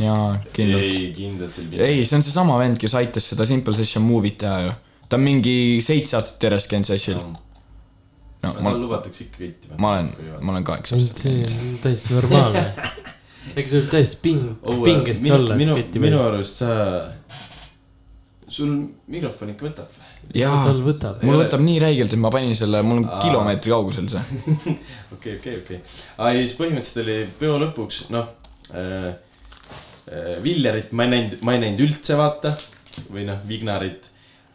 jaa , kindlalt . ei , kindlalt seal pinda . ei , see on seesama vend , kes aitas seda Simple Session movie't teha ju . ta on mingi seitse aastat järjest käinud sessil . no ma... ma , tal lubatakse ikka kõiti või ? ma olen , ma olen kaheksa aastat see käinud . on täiesti normaalne . ega see võib täiesti ping , pingest ka olla , minu et , ketti minu peal . arust sa , sul mikrofon ikka võtab . jaa , tal võtab . mul võtab nii räigelt , et ma panin selle , mul on Aa. kilomeetri kaugusel see . okei , okei , okei . aa , ja siis põhimõtteliselt oli peo lõpuks , noh äh, , äh, Villerit ma ei näinud , ma ei näinud üldse , vaata . või noh , Vignarit .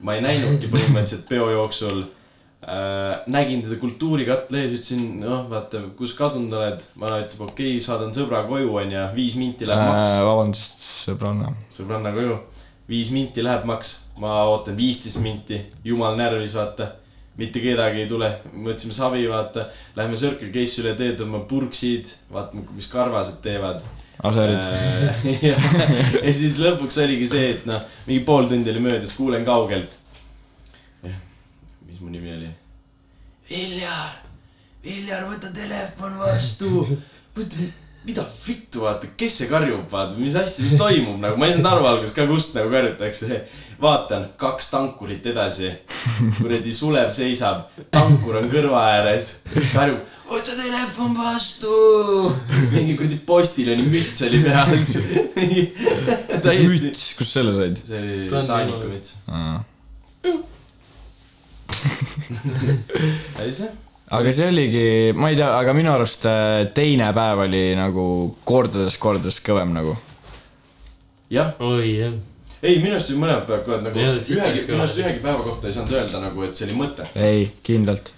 ma ei näinudki põhimõtteliselt peo jooksul äh, . nägin teda kultuurikatla ees , ütlesin , noh , vaata , kus kadunud oled . ma ütleb , okei okay, , saadan sõbra koju , onju , viis minti läheb maks . Äh, vabandust , sõbranna . sõbranna koju , nagu viis minti läheb maks , ma ootan viisteist minti , jumal närvis , vaata . mitte kedagi ei tule , mõtlesime savi , vaata , lähme Circle K-sse üle tee , tõmbame purksid , vaatame , mis karvased teevad . aserid . ja ja siis lõpuks oligi see , et noh , mingi pool tundi oli möödas , kuulen kaugelt . mis mu nimi oli ? Viljar , Viljar , võta telefon vastu . mida vittu , vaata , kes see karjub , vaata , mis asja , mis toimub nagu , ma ei saanud aru alguses ka , kust nagu karjutakse . vaatan , kaks tankurit edasi . kuradi Sulev seisab , tankur on kõrva ääres , karjub , võta telefon vastu . mingi kuradi postiloni müts oli peas . täiesti . müts , kust selle said ? see oli Ta on Taaniku niimoodi. müts . ei see aga see oligi , ma ei tea , aga minu arust äh, teine päev oli nagu kordades , kordades kõvem nagu . jah , oi jah , ei minu arust oli mõlemad päevad ka , et nagu Jah, siit ühegi läks , ka. minu arust ühegi päeva kohta ei saanud öelda nagu , et see oli mõte . ei , kindlalt .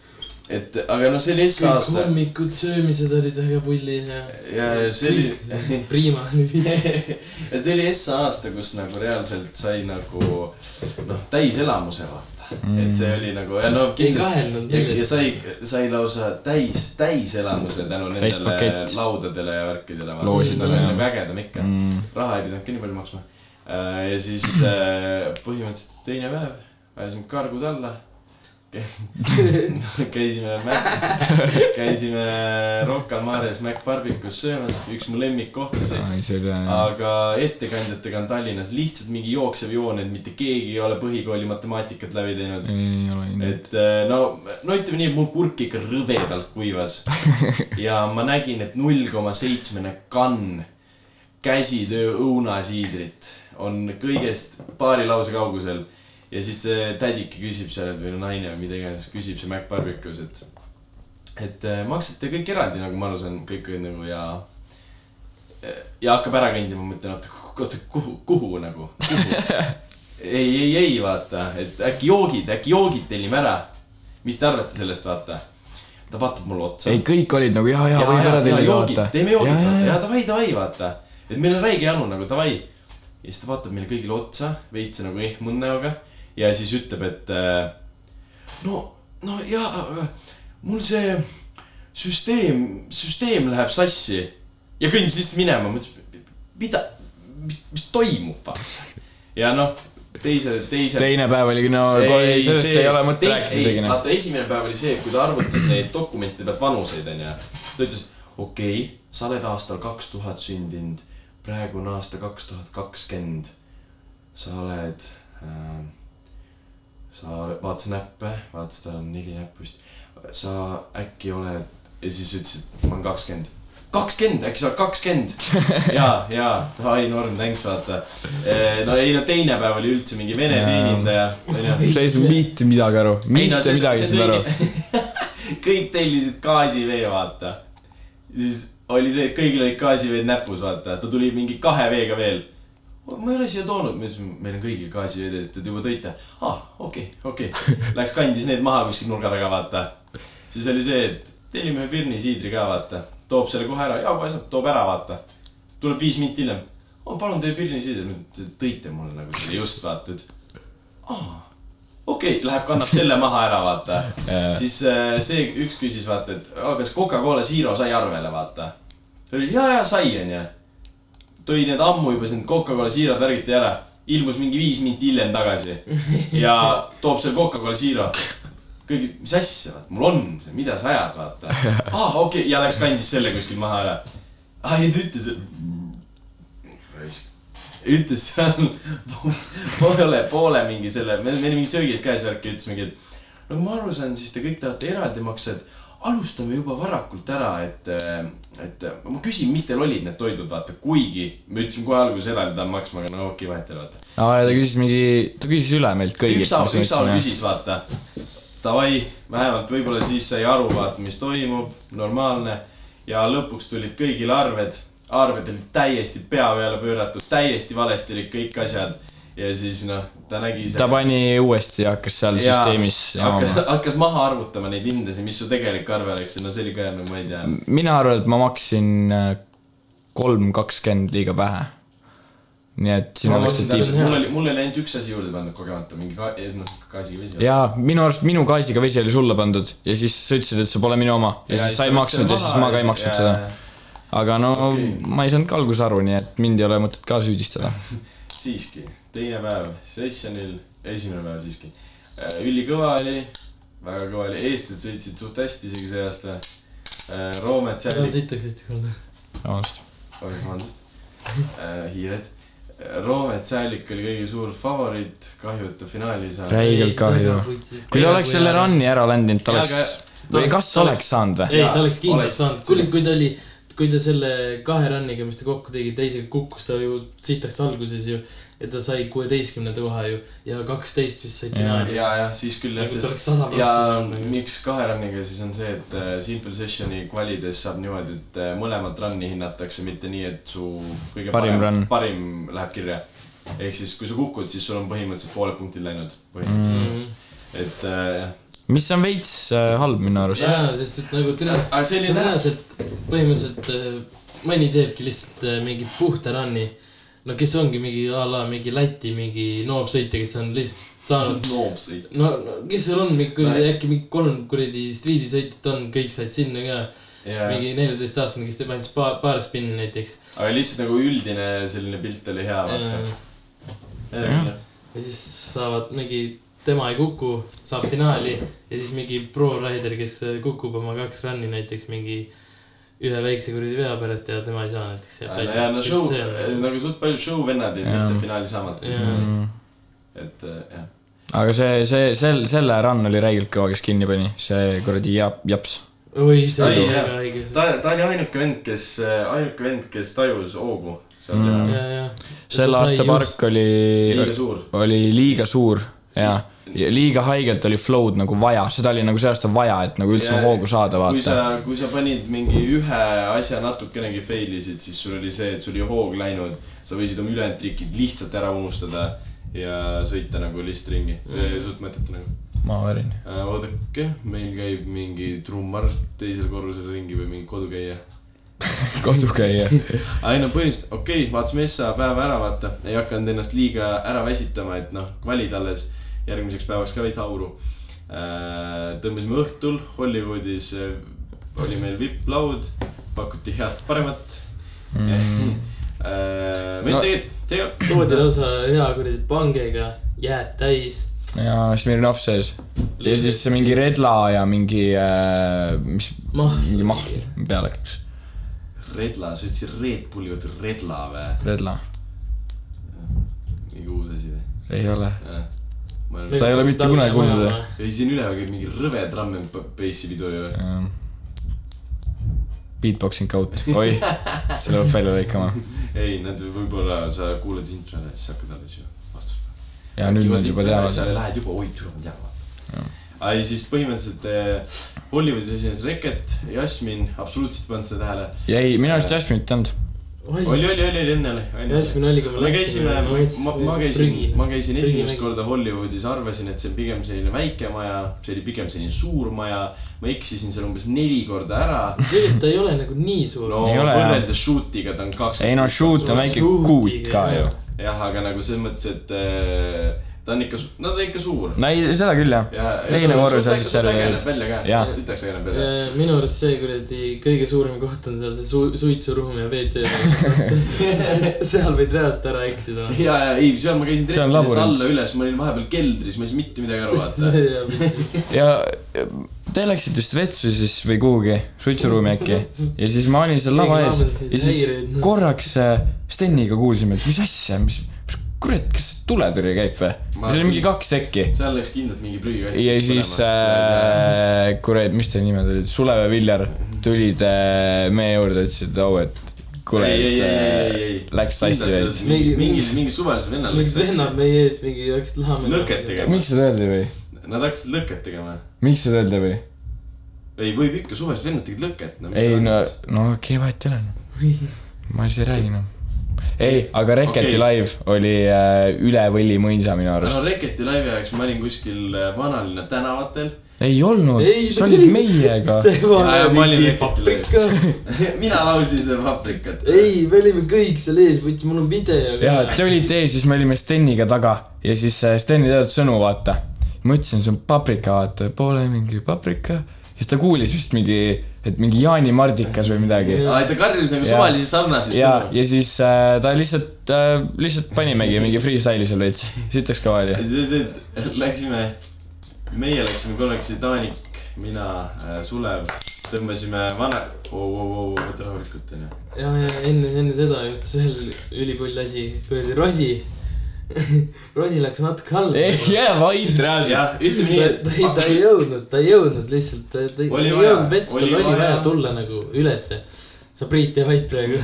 et aga noh , see oli S kõik aasta hommikud söömised olid väga pullid ja . ja , ja see oli , Riima . ja see oli S aasta , kus nagu reaalselt sai nagu noh , täiselamuse vaata mm. . et see oli nagu ja no ei kindlalt kahelnud ja, ja millestki . sai , sai lausa täis , täiselamuse tänu nendele Täispakett. laudadele ja värkidele . Loosidele, oli jah. nagu ägedam ikka mm. . raha ei pidanudki nii palju maksma . ja siis äh, põhimõtteliselt teine päev ajasime kargud alla . käisime Mac , käisime Rocca al Mares Mac Barbecue's söömas , üks mu lemmikkohtasid . see oli jah . aga ettekandjatega on Tallinnas lihtsalt mingi jooksev joon , et mitte keegi ei ole põhikooli matemaatikat läbi teinud . ei ole kindlalt . et eh, no , no ütleme nii , et mul kurk ikka rõvedalt kuivas ja ma nägin , et null koma seitsmene kann käsitöö õunasiidrit on kõigest paari lause kaugusel . ja siis see tädike küsib seal või no naine või mida iganes , küsib see Mac Barbecues , et , et eh, maksate kõik eraldi , nagu ma aru saan , kõik on nagu ja , ja hakkab ära kõndima , ma mõtlen , oota , oota , kuhu , kuhu nagu , kuhu ei , ei , ei vaata , et äkki joogid , äkki joogid tellime ära . mis te arvate sellest , vaata . ta vaatab mulle otsa . ei , kõik olid nagu jaa , jaa , võib ära tellida , vaata . teeme joogid , vaata , jaa , davai , davai , vaata . et meil on räige janu nagu davai . ja siis ta vaatab meile kõigile otsa veits nagu ehmunud näoga ja siis ütleb , et äh, no , no jaa , aga mul see süsteem , süsteem läheb sassi ja kõndis lihtsalt minema , mõtlesin , mida , mis, mis toimub , ja noh , teise , teise . teine päev oli , no ei, sellest see, ei ole mõtet rääkida isegi noh . vaata , esimene päev oli see , kui ta arvutas neid dokumentide pealt vanuseid , onju . ta ütles , okei okay, , sa oled aastal kaks tuhat sündinud , praegu on aasta kaks tuhat kakskümmend . sa oled äh, , sa oled- vaatas näppe , vaatas , tal on neli näppu vist . sa äkki oled ja siis ütles , et ma olen kakskümmend kakskümmend , äkki sa oled kakskümmend ? ja , ja , ai Norm , thanks , vaata . no ei no teine päev oli üldse mingi vene Jaa. teenindaja , onju . sa ei saa mitte midagi aru , Ei, no mitte see- midagi ei see saa aru . kõigi- kõik tellisid gaasivee , vaata . siis oli see , kõigil olid gaasiveed näpus , vaata , ta tuli mingi kahe veega veel . ma ei ole siia toonud , ma ütlesin , meil on kõigil gaasiveed ja siis te juba tõite . aa , okei , okei . Läks kandis need maha kuskil nurga taga , vaata . siis oli see , et tellime ühe pirni siidri ka , vaata . toob selle kohe ära , jaa , paistab , toob ära , vaata . tuleb viis minutit hiljem . ma palun teie pirni siidri , tõite mulle nagu selle just , vaata . aa , okei okay, , läheb , kannab selle maha ära , vaata . siis äh, see üks küsis , vaata , et "Aa, kas Coca-Cola Zero sai arvele , vaata . ta oli ja , ja sai , onju . tõi need ammu juba siin Coca-Cola Zero targiti ära , ilmus mingi viis minutit hiljem tagasi ja toob selle Coca-Cola Zero . kõigi , mis asja , vaata , mul on see , mida sa ajad , vaata . aa , okei okay. , ja läks kandis selle kuskil maha ära . aa , ja ta ütles , et raisk ütles seal poole , poole mingi selle , meil meil oli mingi söögis käes värk ja ütles mingi , et no kui ma aru saan , siis te kõik tahate eraldi maksta , et alustame juba varakult ära , et , et ma küsin , mis teil olid need toidud , vaata , kuigi me ütlesime kohe alguses eraldi tahame maksma , aga no okei , vahet ei ole , vaata . aa , ja ta küsis mingi , ta küsis üle meilt kõigilt . üks haab , üks haab . küsis , vaata . Davai , vähemalt võib-olla siis sai aru , vaata , mis toimub , normaalne . ja lõpuks tulid kõigile arved , arved olid täiesti pea peale pööratud , täiesti valesti olid kõik asjad . ja siis noh , ta nägi ta pani uuesti ja hakkas seal Jaa, süsteemis hakkas , jamama . hakkas maha arvutama neid hindasid , mis su tegelik arve oleks ja no see oli ka , no ma ei tea . mina arvan , et ma maksin äh, kolm kakskümmend liiga vähe . nii et ma sinna läks mõtlesin see tiib . täpselt , mul oli , mul oli ainult üks asi juurde pandud kogemata , mingi ka- , noh , gaasivesi . jaa , minu arust minu gaasiga vesi oli sulle pandud ja siis sa ütlesid , et see pole minu oma ja, ja siis sa ei maksnud ja siis ma ka ei maksnud ja... seda .. aga no okay. Okei. ma ei saanud ka alguses aru , nii et mind ei ole mõtet ka süüdistada . siiski , teine päev sessionil , esimene päev siiski . ülikõva oli , väga kõva oli , eestlased sõitsid suht hästi isegi see aasta . Roomet seal seal , sõitakse hästi korda . vabandust . vabandust , hiired . Roomet Säälik oli kõige suur favoriit , kahju , et ta finaali ei saanud . räigelt kahju . kui ta oleks selle . run'i ära landinud , ta Jaa, oleks aga- , või ta kas oleks- oleks saanud või ? ei , ta oleks kindlalt Oleks. saanud , kuule , kui ta oli , kui ta selle kahe run'iga , mis ta kokku tegi , teisega kukkus ta ju sitaks alguses ju . ja ta sai kuueteistkümnenda koha ju ja kaksteist vist sai finaali . ja , jah , siis küll jah , nagu sest ta oleks sada ja protsenti . nagu. miks kahe run'iga siis on see , et äh, Simple Sessioni kvalides saab niimoodi , et äh, mõlemat run'i hinnatakse , mitte nii , et su kõige Parim run. parim läheb kirja . ehk siis , kui sa kukud , siis sul on põhimõtteliselt pooled punktid läinud põhimõtteliselt mm. , et äh, jah . mis on veits äh, halb minu arust . jaa , sest et nagu tere aga see see oli on näha , reaalselt , põhimõtteliselt äh, mõni teebki lihtsalt äh, mingi puhta run'i . no kes ongi mingi a la mingi Läti mingi noobsõitja , kes on lihtsalt saanud . noob sõit . no no kes seal on , mingi kuradi No- äkki mingi kolm kuradi striidisõitjat on , kõik said sinna ka . ja , mingi neljateistaastane , kes teeb ainult paar , paar spinni näiteks . Äh, aga lihtsalt nagu üldine selline pilt oli hea , vaata . ja jah , siis saavad mingi , tema ei kuku , saab finaali ja siis mingi pro rider , kes äh, kukub oma kaks run'i näiteks mingi ühe väikse kuradi vea pärast ja tema ei saa näiteks . ja no show , nagu suht palju show vennad jäid Jaa. mitte finaali Mm. saamata , Jaa. et äh, jah . aga see , see , sel , selle run oli räigelt kõva , kes kinni pani , see kuradi jap- , japs . oi , see Ai, oli jah. väga õige . ta , ta oli ainuke vend , kes , ainuke vend , kes tajus hoogu seal Mm. mm. ja , ja . selle aasta park oli liiga , suur . oli liiga suur ja , ja liiga haigelt oli flow'd nagu vaja , seda oli nagu see aasta vaja , et nagu üldse Jaa. hoogu saada , vaata . kui sa , kui sa panid mingi ühe asja natukenegi fail isid , siis sul oli see , et sul oli hoog läinud , sa võisid oma ülejäänud trikid lihtsalt ära unustada ja sõita nagu lihtsalt ringi , see oli suht mõttetu nagu . ma verin . oodake , meil käib mingi trummar teisel korrusel ringi või mingi kodukäija . kodukäija . ei no põhimõtteliselt okei okay, , vaatasime Essa päeva ära , vaata , ei hakanud ennast liiga ära väsitama , et noh , valid alles järgmiseks päevaks ka veits auru . tõmbasime õhtul Hollywoodis , oli meil vipplaud , pakuti head paremat mm. . meil No- tegelikult , tegelikult toodi lausa hea kuradi pangega , jääd täis . ja Smirnov sees . ja siis mingi redla ja mingi äh, , mis , Mahl. mingi mahl peale läks . Redla , sa ütlesid Red Bulli kohta Redla või ? redla , mingi uus asi Äh, ei ole . või ? Sa ei ole mitte kunagi kuulnud, või? ? ei , siin üleval käib mingi rõve tramm and bassi pidu ju . Ehm. Beatboxing out , oi , selle peab välja lõikama . ei , nad võib-olla , sa kuulad introle , siis hakkad alles ju vastust . ja nüüd nad juba sa teavad . lähed juba , oi , tule , ma tean , vaata . ei , siis põhimõtteliselt eh, Hollywoodis esines Reket , Jasmin , absoluutselt ei pannud seda tähele . ja ei , minu arust Jasmine'it ei olnud . oli , oli , oli , oli , enne oli , enne oli . Jasmin oli , kui me käisime , ma , ma käisin , ma käisin esimest . korda Hollywoodis , arvasin , et see on pigem selline väike maja , see oli pigem selline suur maja . ma eksisin seal umbes neli korda ära . tegelikult ta ei ole nagu nii suur no Ei ole, jah. võrreldes Shootiga ta on kaks . ei no shoot on väike kuut ka ju . jah , aga nagu selles mõttes , et eh, ta on ikka , no ta on ikka suur . no ei , seda küll jah . ja . teine korrus asjad seal veel . veel . välja ka Jah. , sitaks ägeneb välja . Eh, minu arust see kuradi kõige suurem koht on seal see su- , suitsuruum ja WC . seal võid reaalselt ära eksida . ja , ja ei , seal ma käisin See on treppidest labürint. alla üles , ma olin vahepeal keldris , ma ei saanud mitte midagi aru vaata . ja te läksite vist vetsu siis või kuhugi , suitsuruumi äkki . ja siis ma olin seal lava ees ja noh. siis korraks äh, Steniga kuulsime , et mis asja , mis , mis kurat , kas tuletõrje käib või ? see oli mingi kaks sekki . seal läks kindlalt mingi prügikast . ja siis äh, , kurat , mis teie nimed olid , Sulev ja Viljar tulid äh, meie juurde , ütlesid , et au , et kuule , Ei, ei, ei, ei, ei, ei. et äh, läks sassi veits . mingi , mingi , mingi suvalisel vennal miks läks vennad asja . meie ees mingi hakkasid lahmima ? Lõket tegema. miks seda öeldi või ? Nad hakkasid lõket tegema . miks seda öeldi või ? ei , võib ikka , suvalised vennad tegid lõket . ei no , no okei okay, , vahet ei ole . ma siis ei räägi noh . ei , aga Reketi Okei. okay. live oli äh, üle võli mõisa minu no arust . Reketi laivi ajaks ma olin kuskil äh, vanalinna tänavatel . ei olnud , Ei, sa olid meiega . ma olin ei , Reketi laivis . mina laulsin seda paprikat . me olime kõik seal ees , võttis mul on video . ja te olite ees , siis me olime Steniga taga ja siis äh, Sten ei teadnud sõnu , vaata . ma ütlesin , see on paprika , vaata , pole mingi paprika . siis ta kuulis vist mingi , et mingi jaanimardikas või midagi . aa , ta karjus nagu Jaa. suvalisi sarnaseid ja , ja siis äh, ta lihtsalt äh, , lihtsalt panimegi mingi freestyle'i seal veits , sitaks kõva Ja oli . siis lihtsalt läksime , meie läksime kolmekesi , Taanik , mina , Sulev , tõmbasime vana , oota rahulikult onju . ja , ja enne , enne seda juhtus veel ülipull asi , kuradi Rodi . Rodi läks natuke alla . jää vait reaalselt . jah , ütleme nii , ta ei , ta ei et jõudnud , ta ei jõudnud lihtsalt , ta ta ei ta Oli ei vaja, jõudnud vetsu , oli tal oli vaja. vaja tulla nagu ülesse . sa Priit ja Vait praegu .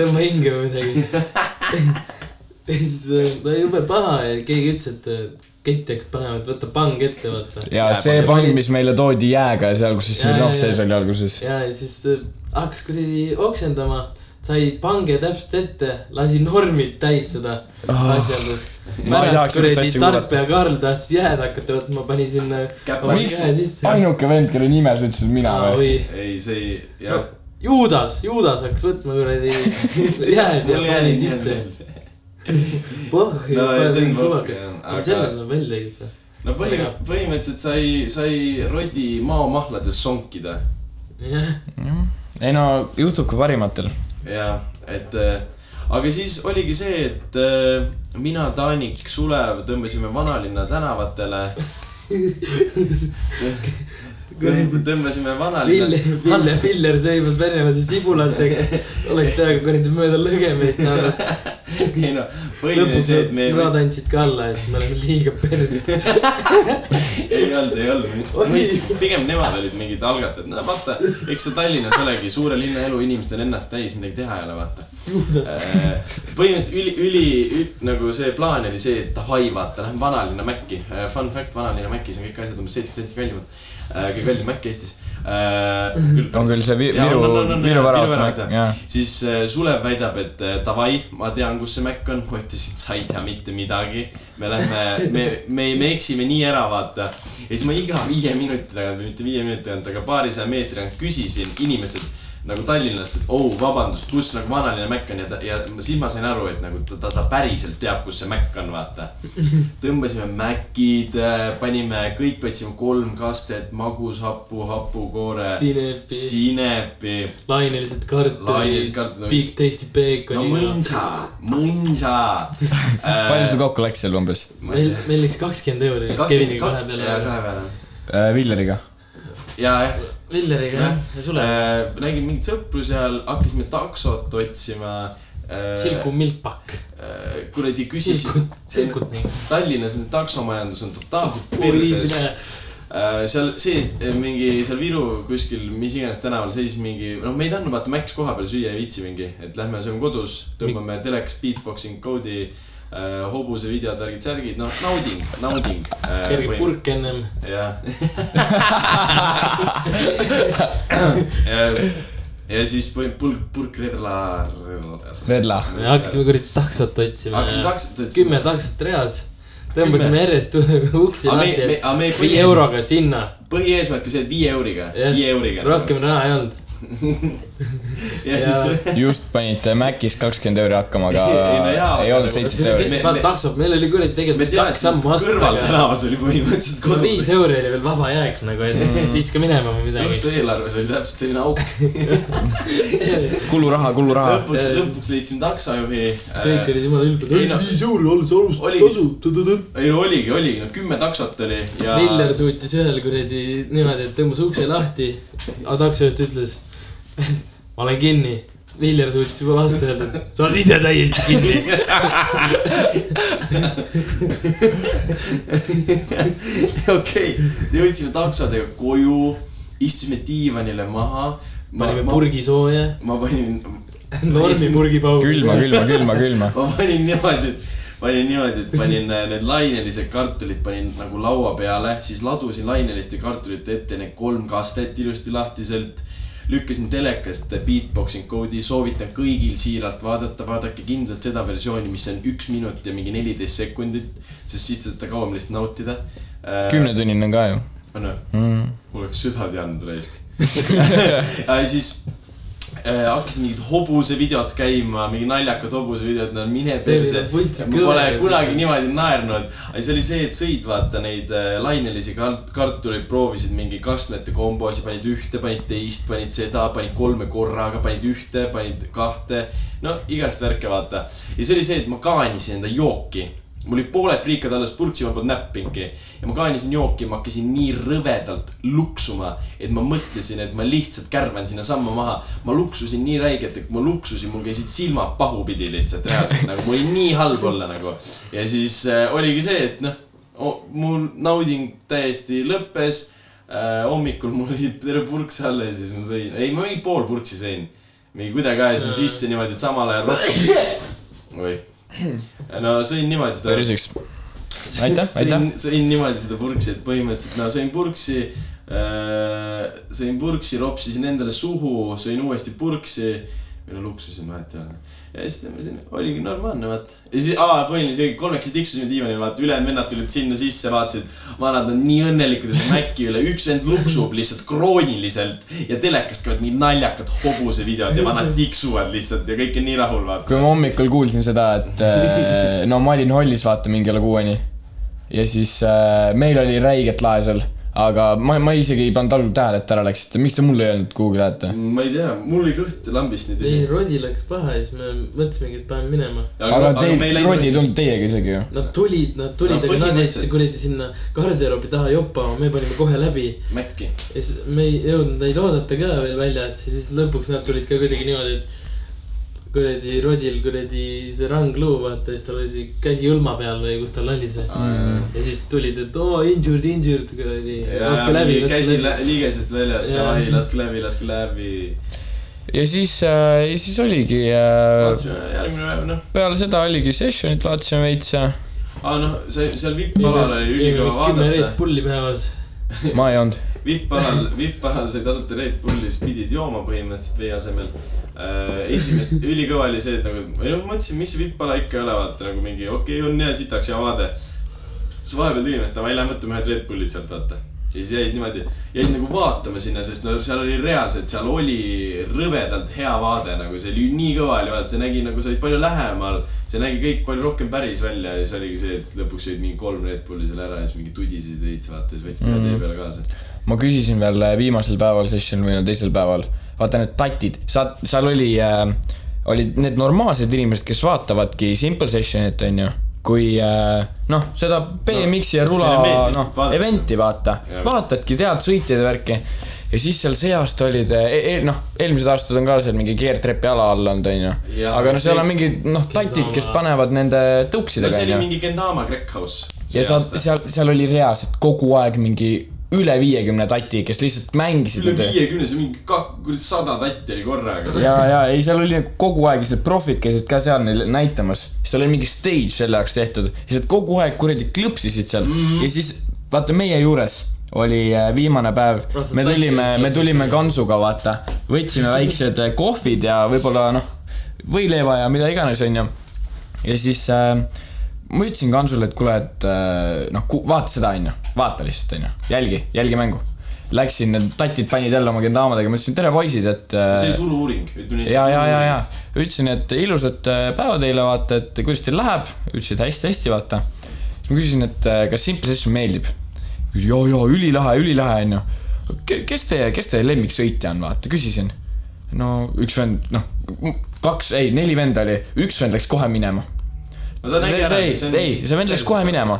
tõmba hinge või midagi . ja siis äh, ta oli jube paha ja keegi ütles , et äh, kett hakkas panema , et võta pang ette , vaata . ja see pang , mis meile toodi jääga ja seal , kus siis Jaa, Smirnov jaa, sees jaa. oli alguses . ja , ja siis äh, hakkas kuradi oksendama , sai pange täpselt ette , lasi normilt täis seda Ah. asjandust . Ma ei tahaks pärast sellist asja kuradi tark kuulata. ja Karl tahtis jääd hakata võtma , pani sinna Käpa- oma Miks? käe sisse . ainuke vend , kelle nime sa ütlesid , mina või ? või ? ei , see ei , jah . Juudas , Juudas hakkas võtma kuradi jääd ja pani sisse . pohhi , No, ja see on pani pohh, suvaka jah, . aga aga- selle tuleb välja ikka . no põhim- , põhimõtteliselt sai , sai Rodi maomahlades sonkida jah , ei no juhtub ka parimatel . ja et äh, aga siis oligi see , et äh, mina , Taanik , Sulev tõmbasime vanalinna tänavatele . tõmbasime vanalinna Ville , Ville Filler sõimas venelase sibulateks . oleks peaaegu kuradi mööda lõgemeid saanud . ei no , põhiline lõpuks see , et me nad andsid ka alla , et me oleme liiga perses . ei olnud , ei olnud Oli. mõistlik , pigem nemad olid mingid algatajad , no vaata , eks see Tallinnas olegi suure linna elu , inimestel ennast täis midagi teha ei ole , vaata . juudas . põhimõtteliselt üli , üli, üli , nagu see plaan oli see , et davai , vaata , lähme vanalinna Maci . Fun fact , vanalinna Macis on kõik asjad umbes seitse senti kallimad . kõige kallim Mac Eestis . Äh, on küll see Vi- Viru , Viru väravat , jah . siis äh, Sulev väidab , et äh, davai , ma tean , kus see Mac on . ma ütlesin , sa ei tea mitte midagi . me lähme , me , me , me eksime nii ära , vaata . ja siis ma iga viie minuti tagant , mitte viie minuti tagant , aga paarisaja meetri tagant küsisin inimestelt nagu Tallinnast , et oh , vabandust , kus nagu vanaline Mac on ja ta , ja ma- siis ma sain aru , et nagu ta , ta , ta päriselt teab , kus see Mac on , vaata . tõmbasime Macid , panime , kõik võtsime kolm kastet , magushappu , hapukoore , sinepi , sinepi lainelised lainelised kartulid , kartulid . big tasty no bacon . mõnsa , mõnsa . Äh, palju sul kokku läks seal umbes ? meil , meil läks kakskümmend euri vist Keviniga kahe ja peale . kahe peale . Äh, Villeriga . ja , jah . Villeriga jah , ja sulle . nägin mingit sõpru seal , hakkasime taksot otsima . Silku . milpak , kuradi küsisin silkut , silkut nii . Tallinnas on taksomajandus on totaalselt perses . Äh, seal sees eh, mingi seal Viru kuskil , mis iganes tänaval seisis mingi , noh , me ei tahtnud vaata Macs koha peal süüa ei viitsi mingi , et lähme sööme kodus , tõmbame telekast beatboxing code'i äh, , hobuse videod , värgid , särgid , noh , nauding , nauding äh, . kerge . purk ennem , jah . ja siis põhi- pulk , purk redla . Redla . me hakkasime kuradi taksot otsima hakkasid . taksot kümme . taksot reas , tõmbasime järjest uksi aga me , me lahti ,, aga me viie põhieesmärk , euroga sinna , põhieesmärk oli see , et viie euriga , Jah. viie euriga . rohkem raha ei olnud . ja siis just panite Macis kakskümmend euri hakkama , Ei, no aga jaa, nagu ei olnud aga- seitset Me- euri . kes me- paneb taksot , meil oli kuradi me tegelikult teame , kaks et sammu kõrval astuda . tänavas oli põhimõtteliselt viis kodus . euri oli veel vaba jääk nagu , et viska minema või midagi . õhtueelarves oli täpselt selline auk . kuluraha , kuluraha . lõpuks , lõpuks leidsin taksojuhi . kõik olid jumala Ei, no- ülbed . viis euri alles Oligi- tasub . ei no oligi , oligi , no kümme taksot oli ja . Miller suutis ühel kuradi niimoodi , et tõmbas ukse lahti , aga taksojuht ütles , ma olen kinni . Miller suutis juba vastu öelda , et sa oled ise täiesti kinni . okei , jõudsime taksodega koju , istusime diivanile maha . panime . purgi sooja , ma panin , normi purgipaugu . külma , külma , külma , külma . ma panin niimoodi , et panin niimoodi , et panin äh, need lainelised kartulid panin nagu laua peale , siis ladusin laineliste kartulite ette need kolm kastet ilusti lahtiselt . lükkasin telekast beatboxing code'i , soovitan kõigil siiralt vaadata , vaadake kindlalt seda versiooni , mis on üks minut ja mingi neliteist sekundit , sest siis te saate kauem lihtsalt nautida . kümnetunnine on ka ju . Mm. on või ? mul oleks süda teadnud raisk ja siis äh, hakkasid mingid hobusevideod käima , mingi naljakad hobusevideod , no mine See oli nagu perse . võttis ma pole kõvemaks. kunagi niimoodi naernud . aga siis oli see , et sõid vaata neid äh, lainelisi kart- , kartuleid , proovisid mingi kastmete kombosi , panid ühte , panid teist , panid seda , panid kolme korraga , panid ühte , panid kahte . no igast värke vaata . ja siis oli see , et ma kaanisin enda jooki mul olid pooled friikad alles purksi , ma polnud näppinudki ja ma kaanisin jooki , ma hakkasin nii rõvedalt luksuma , et ma mõtlesin , et ma lihtsalt kärvan sinnasamma maha . ma luksusin nii räigelt , et kui ma luksusin , mul käisid silmad pahupidi lihtsalt reaalselt nagu mul oli nii halb olla nagu . ja siis äh, oligi see , et noh , mul nauding täiesti lõppes äh, . hommikul mul oli terve purks alles ja siis ma sõin , ei ma mingi pool purksi sõin . mingi kuidagi ajasin sisse niimoodi , et samal ajal . oi , no sõin niimoodi seda terviseks . aitäh , aitäh sõin ,. sõin niimoodi seda purksi , et põhimõtteliselt no sõin purksi äh, , sõin purksi , ropsisin endale suhu , sõin uuesti purksi või no luksusin , vahet ei ole . ja siis tõmbasin , oligi normaalne , vaata . ja siis , aa , põhiline , see kolmekesi tiksusime diivanil , vaata , ülejäänud vennad tulid sinna sisse , vaatasid , vanad on nii õnnelikud , et Maci üle , üks vend luksub lihtsalt krooniliselt ja telekast käivad mingid naljakad hobusevideod ja vanad tiksuvad lihtsalt ja kõik on nii rahul , vaata . kui ma hommikul kuulsin seda , et äh, no ma olin hallis vaata mingi kella kuueni . ja siis äh, meil oli räiget lae seal , aga ma , ma isegi ei pannud algul tähele , et ära läksite , miks te mulle ei öelnud kuhugi lähete ? ma ei tea , mul oli kõht lambist nii ei tühi ., Rodi läks paha ja siis me mõtlesimegi , et paneme minema . aga teil , Rodi ei tulnud teiega isegi ju . Nad tulid , nad tulid , No aga nad jäid põhimõtteliselt. kuradi sinna garderoobi taha joppama , me panime kohe läbi Maci . ja siis me ei jõudnud neid oodata ka veel väljas ja siis lõpuks nad tulid ka kuidagi niimoodi , et kuradi Rodil kuradi see rangluu , vaata , siis tal oli see käsi hõlma peal või kus tal oli see . ja siis tulid , et oo , injured , injured kuradi . laske läbi , laske käisin läbi . lä- liigesest väljas , Jaa. davai , laske läbi , laske läbi . ja siis äh, , ja siis oligi äh, , vaatasime järgmine päev , noh . peale seda oligi session'it , vaatasime veits ja aa , noh , see , seal vipp-alal oli ülikõva kümme Red vaadata . Bulli päevas . ma ei olnud . vipp-alal , vipp-alal sai tasuta Red Bulli , siis pidid jooma põhimõtteliselt vee asemel . esimest , ülikõva oli see , et nagu , ei no ma mõtlesin , mis see vipp-ala ikka ei ole , vaata nagu mingi okei okay, , on hea sitaks ja vaade . siis vahepeal tegin , et davai , lähme võtame ühed Red Bullid sealt , vaata . ja siis jäid niimoodi , jäid nagu vaatama sinna , sest no seal oli reaalselt , seal oli rõvedalt hea vaade nagu , see oli nii kõva oli , vaata , see nägi nagu , sa olid palju lähemal . see nägi kõik palju rohkem päris välja ja siis oligi see , et lõpuks jõid mingi kolm Red Bulli seal ära ja siis mingi tudisid veits , vaata , siis võtsid ühe Mhm. tee peale kaasa . ma küsisin veel äh, viimasel päeval session'il või no teisel päeval , vaata need tatid , sa , seal oli äh, , olid need normaalsed inimesed , kes vaatavadki simple session'it , onju . kui äh, noh , seda BMX-i ja No, rula sest neile meeldib noh , vaadata event'i vaata , Jaa. vaatadki , tead sõitjaid ja värki . ja siis seal see aasta olid e , e, noh , eelmised aastad on ka seal mingi keertrepi ala all olnud , onju . Jaa, aga no seal on see- mingid noh , tatid , kes Kindlama- panevad nende no tõuksidega , see oli onju mingi Gendama Crack House . ja seal , seal , seal oli reaalselt kogu aeg mingi üle viiekümne tati , kes lihtsalt mängisid üle . viiekümne , see mingi kak- , kuradi sada tatti oli korraga . ja , ja ei , seal oli nagu kogu aeg , lihtsalt profid käisid ka seal neil näitamas , siis tal oli mingi stage selle jaoks tehtud , siis nad kogu aeg kuradi klõpsisid seal Mhm. mm. ja siis vaata meie juures oli äh, viimane päev , Rasvad me tatti tulime , me klõpsid. tulime Kansuga , vaata , võtsime väiksed äh, kohvid ja võib-olla noh , võileiva ja mida iganes , onju ja siis äh, ma ütlesin Kansule , et kuule , et äh, noh , vaata seda , onju , vaata lihtsalt , onju , jälgi , jälgi mängu . Läksin , need tatid panid jälle oma gendaamadega , ma ütlesin tere , poisid , et see äh, oli turu-uuring , ütleme nii . ja , ja , ja , ja ütlesin , et ilusat äh, päeva teile , vaata , et kuidas teil läheb , ütlesid hästi-hästi , vaata . siis ma küsisin , et äh, kas Simple Session meeldib . ja , ja ülilahe , ülilahe onju . kes teie , kes teie lemmiksõitja on , vaata , küsisin . no üks vend , noh kaks , ei neli venda oli , üks vend läks kohe minema no ta nägi see , ära . see , ei , ei , see vend läks kohe minema .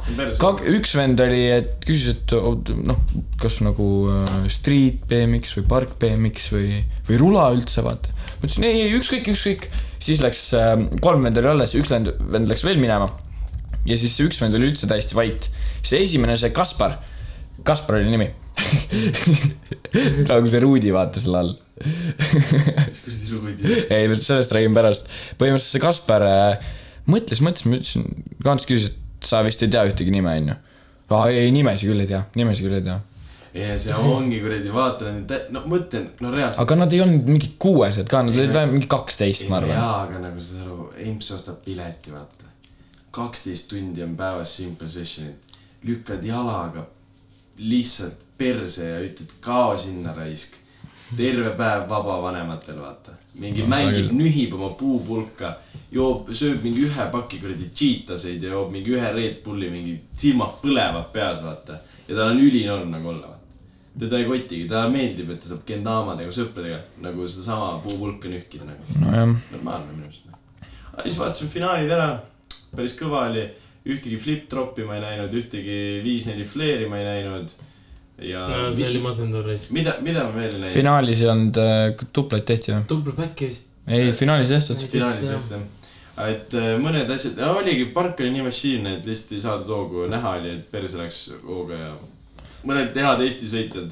üks vend oli , et küsis , et oot, noh , kas nagu äh, street BMX või park BMX või , või rula üldse , vaata . ma ütlesin ei , ei , ükskõik , ükskõik . siis läks äh, , kolm vend oli alles , üks vend , vend läks veel minema . ja siis see üks vend oli üldse täiesti vait . see esimene , see Kaspar , Kaspar oli nimi . nagu see Ruudi vaata seal all kuradi lugu . ei , sellest räägime pärast . põhimõtteliselt see Kaspar äh, mõtles , mõtles , ma ütlesin , Kants küsis , et sa vist ei tea ühtegi nime , onju . aa , ei , nimesi küll ei tea , nimesi küll ei tea . ja see ongi kuradi , vaata nüüd , no mõtlen , no reaalselt . aga nad ei olnud mingid kuuesed ka , nad olid vähemalt mingi kaksteist , ma arvan . jaa , aga nagu saad aru , Imps ostab pileti , vaata . kaksteist tundi on päevas simple session'it , lükkad jalaga lihtsalt perse ja ütled kao sinna raisk . terve päev vaba vanematel , vaata . mingi No, seda no, mängib küll. , nühib oma puupulka , joob , sööb mingi ühe paki kuradi cheetaseid ja joob mingi ühe Red Bulli , mingi silmad põlevad peas , vaata . ja tal on ülinorm nagu olla , vaata teda ei kotigi , talle meeldib , et ta saab gendaamadega , sõpradega nagu sedasama puupulka nühkida nagu . nojah , normaalne minu arust . siis vaatasime finaalid ära , päris kõva oli , ühtegi flip-tropi ma ei näinud , ühtegi viis-neli flare'i ma ei näinud . ja no see oli masendav reis . mida , mida ma veel ei näinud ? finaalis ei olnud äh, duplaid tehti või ? tubli back'i vist . ei , finaalis ei tehtud . finaalis tõesti jah . et äh, mõned asjad , oligi , park oli nii massiivne , et lihtsalt ei saadud hoogu , näha oli , et perse läks hooga ja mõned head Eesti sõitjad ,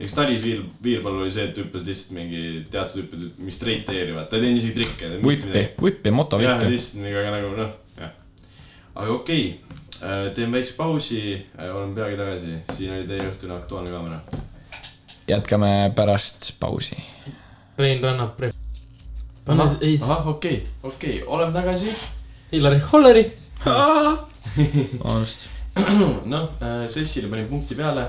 eks Talis Viir , Viirpalu oli see , et hüppas lihtsalt mingi teatud hüpped , mis straight air'i , vaata , ta ei teinud isegi trikke . Whippi , whippi , jah , motovippi . lihtsalt mingi , aga nagu noh , jah . aga okei okay. , teeme väikse pausi , oleme peagi tagasi , siin oli teie õhtune Aktuaalne Kaamera . jätkame pärast pausi . Rein Rannap , Rein . pane , ei , ahah , okei okay, , okei okay. , oleme tagasi . Hillari Holleri . vabandust . noh , sessile panin punkti peale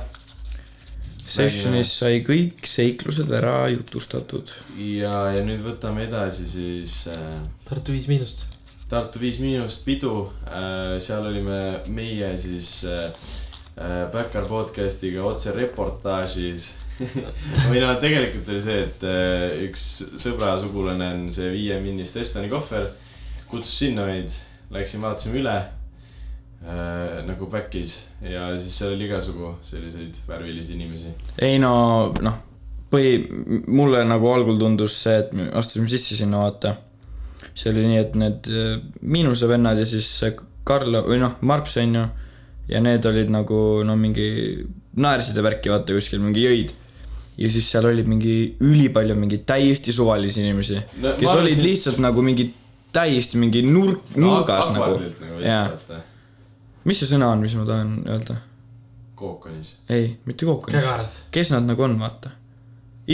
Sessionis sai kõik seiklused ära jutustatud . ja , ja nüüd võtame edasi siis äh, Tartu Viis Miinust . Tartu Viis Miinust pidu äh, . seal olime meie siis äh, äh, Backyard podcast'iga otse reportaažis . või noh , tegelikult oli see , et äh, üks sõbra sugulane on see viie minnist Estoni kohver . kutsus sinna meid , läksime vaatasime üle äh, nagu back'is ja siis seal oli igasugu selliseid värvilisi inimesi . ei no noh , põhi , mulle nagu algul tundus see , et me astusime sisse sinna vaata . see oli nii , et need äh, Miinuse vennad ja siis see Karl või noh , Marps on ju . ja need olid nagu no mingi naersid ja värki vaata kuskil mingi jõid . ja siis seal oli mingi ülipalju mingeid täiesti suvalisi inimesi No no, , ma kes olid arvasin- arvasin... lihtsalt nagu mingi täiesti mingi nurk , nurgas no, nagu nagu . jaa , lihtsalt yeah. . mis see sõna on , mis ma tahan öelda ? kookonis . ei , mitte kookonis . kägaras . kes nad nagu on , vaata .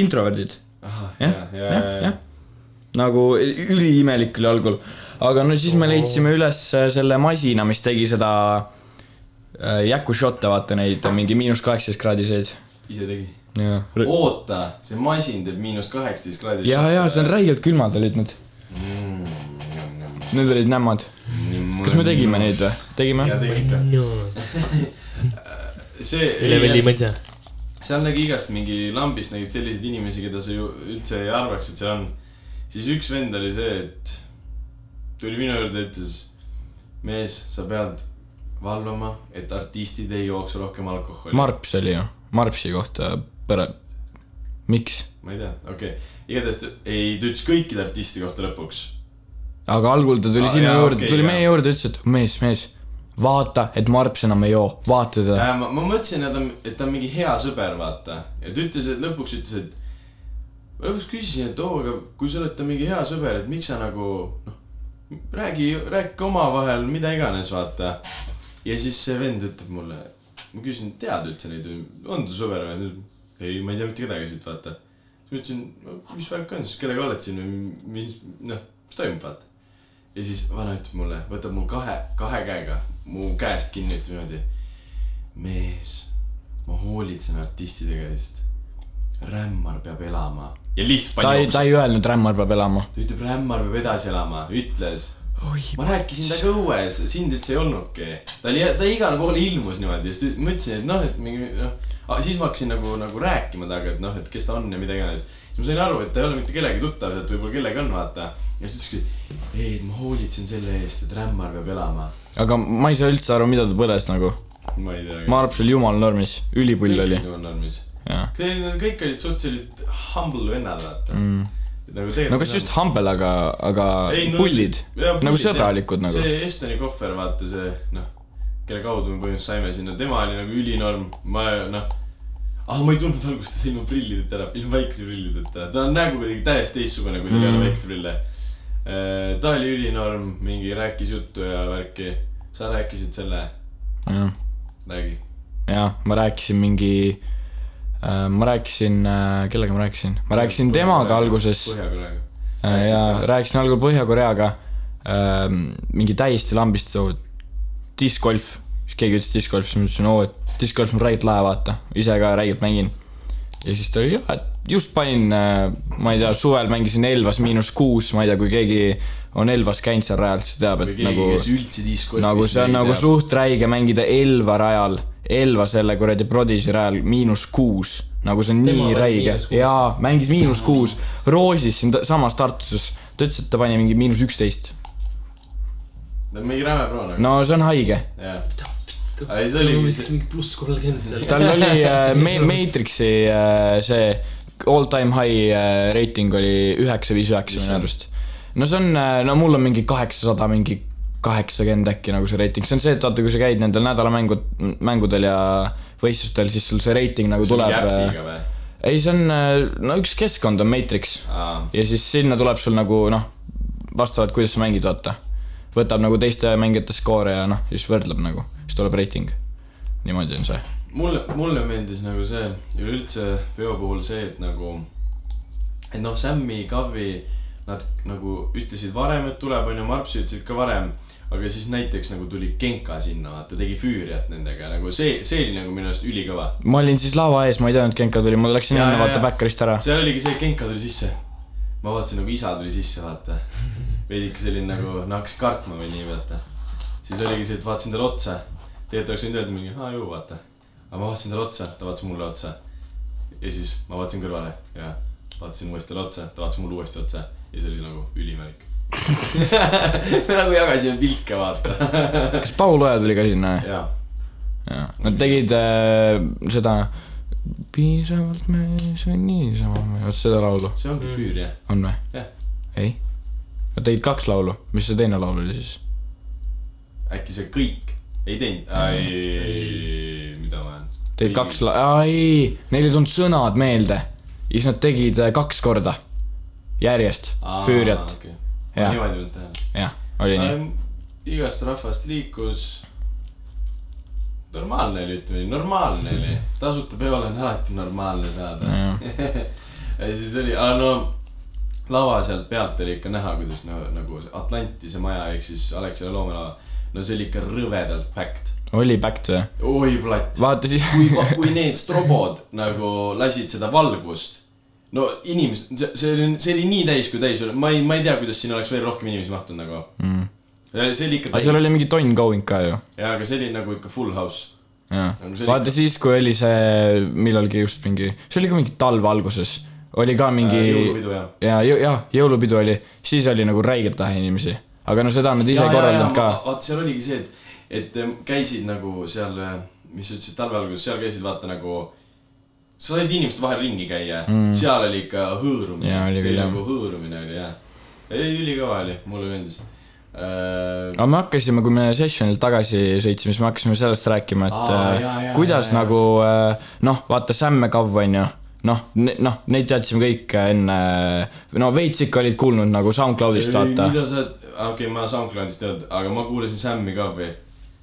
introverdid ahah , Jah, jaa , jaa , jaa , nagu üliimelik oli algul . aga no siis me leidsime üles äh, selle masina , mis tegi seda äh, jäkušotte , vaata neid mingi miinus kaheksateist kraadiseid . ise tegi . ja , oota , see masin teeb miinus kaheksateist kraadi . ja , ja see on räigelt külmad olid need , on . need olid nämmad . kas me tegime neid või ? tegime ? jaa , tegi ikka . see , Leveli mõtse . seal nägi nagu igast mingi lambist nägid selliseid inimesi , keda sa ju üldse ei arvaks , et seal on . siis üks vend oli see , et tuli minu juurde ja ütles , mees , sa pead valvama , et artistid ei jooksu rohkem alkoholi . Marps oli ju , Marpsi kohta pere , miks ? ma ei tea , okei okay. , igatahes ta ei , ta ütles kõikide artisti kohta lõpuks . aga algul ta tuli Aa, sinu Ah, jaa, juurde okei, okay, , tuli jaa. meie juurde , ütles , et mees , mees , vaata , et Marps enam ei joo , vaata teda . Äh, ma , ma mõtlesin , et ta on , et ta on mingi hea sõber , vaata . ja ta ütles , et lõpuks ütles , et ma lõpuks küsisin , et oo , aga kui sa oled ta mingi hea sõber , et miks sa nagu noh , räägi , rääkige omavahel mida iganes , vaata . ja siis see vend ütleb mulle , ma küsisin , tead üldse neid , on ta sõber või ? ei , ma ei tea mitte kedagi siit , vaata . siis ma ütlesin , mis värk on siis , kellega oled siin või mis , noh , mis toimub , vaata . ja siis vana ütleb mulle , võtab mul kahe , kahe käega mu käest kinni , ütleb niimoodi . mees , ma hoolitsen artistide käest . rämmar peab elama . ja lihtsalt ta ei , pani ta jooksu . ei öelnud , Rämmar peab elama . ta ütleb , rämmar peab edasi elama , ütles . ma rääkisin temaga õues , sind üldse ei olnudki . ta oli , ta igal pool ilmus niimoodi ja siis ta- ma ütlesin , et noh , et mingi noh . siis ma hakkasin nagu , nagu rääkima temaga , et noh , et kes ta on ja mida iganes . siis ma sain aru , et ta ei ole mitte kellegi tuttav , et võib-olla kellegi on , vaata . ja siis ta ütleski , ei , et ma hoolitsen selle eest , et rämmar peab elama . aga ma ei saa üldse aru , mida ta põles nagu . ma ei tea . Marps oli jumala normis , ülipull oli . normis . jaa . Need kõik olid suhteliselt humble vennad , vaata mm. . nagu tegelikult . no kas just hambel , aga , aga Ei, no- pullid Jaa, . nagu pullid, sõbralikud jah. nagu . see Estoni kohver , vaata see , noh , kelle kaudu me põhimõtteliselt saime sinna , tema oli nagu ülinorm , ma noh . ah , ma ei tundnud alguses teda ilma prillideta ära , ilma väikese prillideta , ta on nägu kuidagi täiesti teistsugune , kui tal Mm. ei ole väikese prille . ta oli ülinorm , mingi rääkis juttu ja värki . sa rääkisid selle , jah , räägi . jah , ma rääkisin mingi äh, ma rääkisin , kellega ma rääkisin , ma rääkisin temaga alguses Põhja-Koreaga . äh, ja rääkisin algul Põhja-Koreaga äh, mingi täiesti lambist soo , discgolf , siis keegi ütles discgolf , siis ma ütlesin , oo , et discgolf on räigelt lahe , vaata , ise ka räigelt mängin . ja siis ta oli , jaa , et just panin äh, , ma ei tea , suvel mängisin Elvas miinus kuus , ma ei tea , kui keegi on Elvas käinud seal rajal , siis teab , või et keegi nagu, , kes nagu , üldse discgolfis . nagu see on nagu . suht räige mängida Elva rajal , Elva selle kuradi Prodigi rajal miinus kuus , nagu see on Tema nii oli räige miinus kuus. ja mängis miinus kuus , Roosis siin ta- samas Tartuses , ta ütles , et ta pani mingi miinus üksteist . mingi räme pro nagu no no. , see on haige , jah . ei, see oli- siis mingi pluss kolmkümmend seal . tal oli äh, Me- Matrixi äh, see all time high äh, reiting oli üheksa , viis , üheksa minu arust . no see on , no mul on mingi kaheksasada , mingi kaheksakümmend äkki nagu see reiting , see on see , et vaata , kui sa käid nendel nädalamängud , mängudel ja võistlustel , siis sul see reiting nagu tuleb . äpiga või ? ei , see on , no üks keskkond on Matrix aa , ja siis sinna tuleb sul nagu noh , vastavalt , kuidas sa mängid , vaata . võtab nagu teiste mängijate skoore ja noh , siis võrdleb nagu , siis tuleb reiting . niimoodi on see mulle , mulle meeldis nagu see üleüldse peo puhul see , et nagu , et noh , Sammi , Kavi , nad nagu ütlesid varem , et tuleb , onju , Marpsi ütlesid ka varem , aga siis näiteks nagu tuli Genka sinna , vaata , tegi füüriat nendega nagu see , see oli nagu minu arust ülikõva . ma olin siis laua ees , ma ei teadnud , Genka tuli , ma läksin Jaa, enne jaa, vaata jaa. backerist ära . seal oligi see , et Genka tuli sisse . ma vaatasin nagu isa tuli sisse , vaata . veidike selline nagu , no hakkas kartma või nii , vaata . siis oligi see , et vaatasin talle otsa . tegelikult oleks võinud öelda mingi , aa ju , vaata . aga ma vaatasin talle otsa , ta vaatas mulle otsa . ja siis ma vaatasin kõrvale ja vaatasin uuesti talle otsa , ta vaatas mulle uuesti otsa ja see oli nagu ülimelik . me nagu jagasime pilke , vaata . kas Paul Oja tuli ka sinna ? jaa , jaa , nad tegid äh, seda piisavalt mees või niisama mees , vot seda laulu see ongi füür , jah . on või ? jah , ei ? Nad tegid kaks laulu , mis see teine laul oli siis ? äkki see kõik ei teinud , ei , mida ma olen . tegid kaks la- , aa ei , neil ei tulnud sõnad meelde . ja siis nad tegid äh, kaks korda järjest Füüriat . Jah. niimoodi Äh. võid teha . jah , oli nii . igast rahvast liikus . normaalne oli , ütleme nii , normaalne oli . tasuta peol on alati normaalne saada . ja siis oli , no lava sealt pealt oli ikka näha , kuidas nagu, nagu see Atlantise maja ehk siis Alexela loomelava . no see oli ikka rõvedalt päkt . oli Pact või ? oi platt . vaata siis . kui , kui need strobod nagu lasid seda valgust . no inimesed , see , see oli , see oli nii täis kui täis oli , ma ei , ma ei tea , kuidas sinna oleks veel rohkem inimesi mahtunud nagu mm. . see oli ikka aga täis seal . oli mingi tonn going ka ju . jaa , aga see oli nagu ikka full house . jah Aga see oli , vaata siis , kui oli see millalgi just mingi , see oli ka mingi talve alguses , oli ka mingi jõulupidu jah . ja , ja jõulupidu oli , siis oli nagu räigelt vähe inimesi , aga no seda nad ise ei korraldanud ka . vaata , seal oligi see , et , et ähm, käisid nagu seal , mis sa ütlesid , talve alguses , seal käisid vaata nagu , sa said inimeste vahel ringi käia mm. , seal oli ikka hõõrumine . Jaa, oli see küll, oli jah. nagu hõõrumine oli jah . ei , ülikõva oli , mulle meeldis äh, . aga me hakkasime , kui me sessionilt tagasi sõitsime , siis me hakkasime sellest rääkima , et Aa, äh, jaa, jaa, kuidas jaa, jaa. nagu äh, noh , vaata sämmekav on ju , noh , noh , neid teadsime kõik enne , no veits ikka olid kuulnud nagu SoundCloudist vaata . mida sa , okei okay, , ma SoundCloudist ei olnud , aga ma kuulasin Sammi ka või .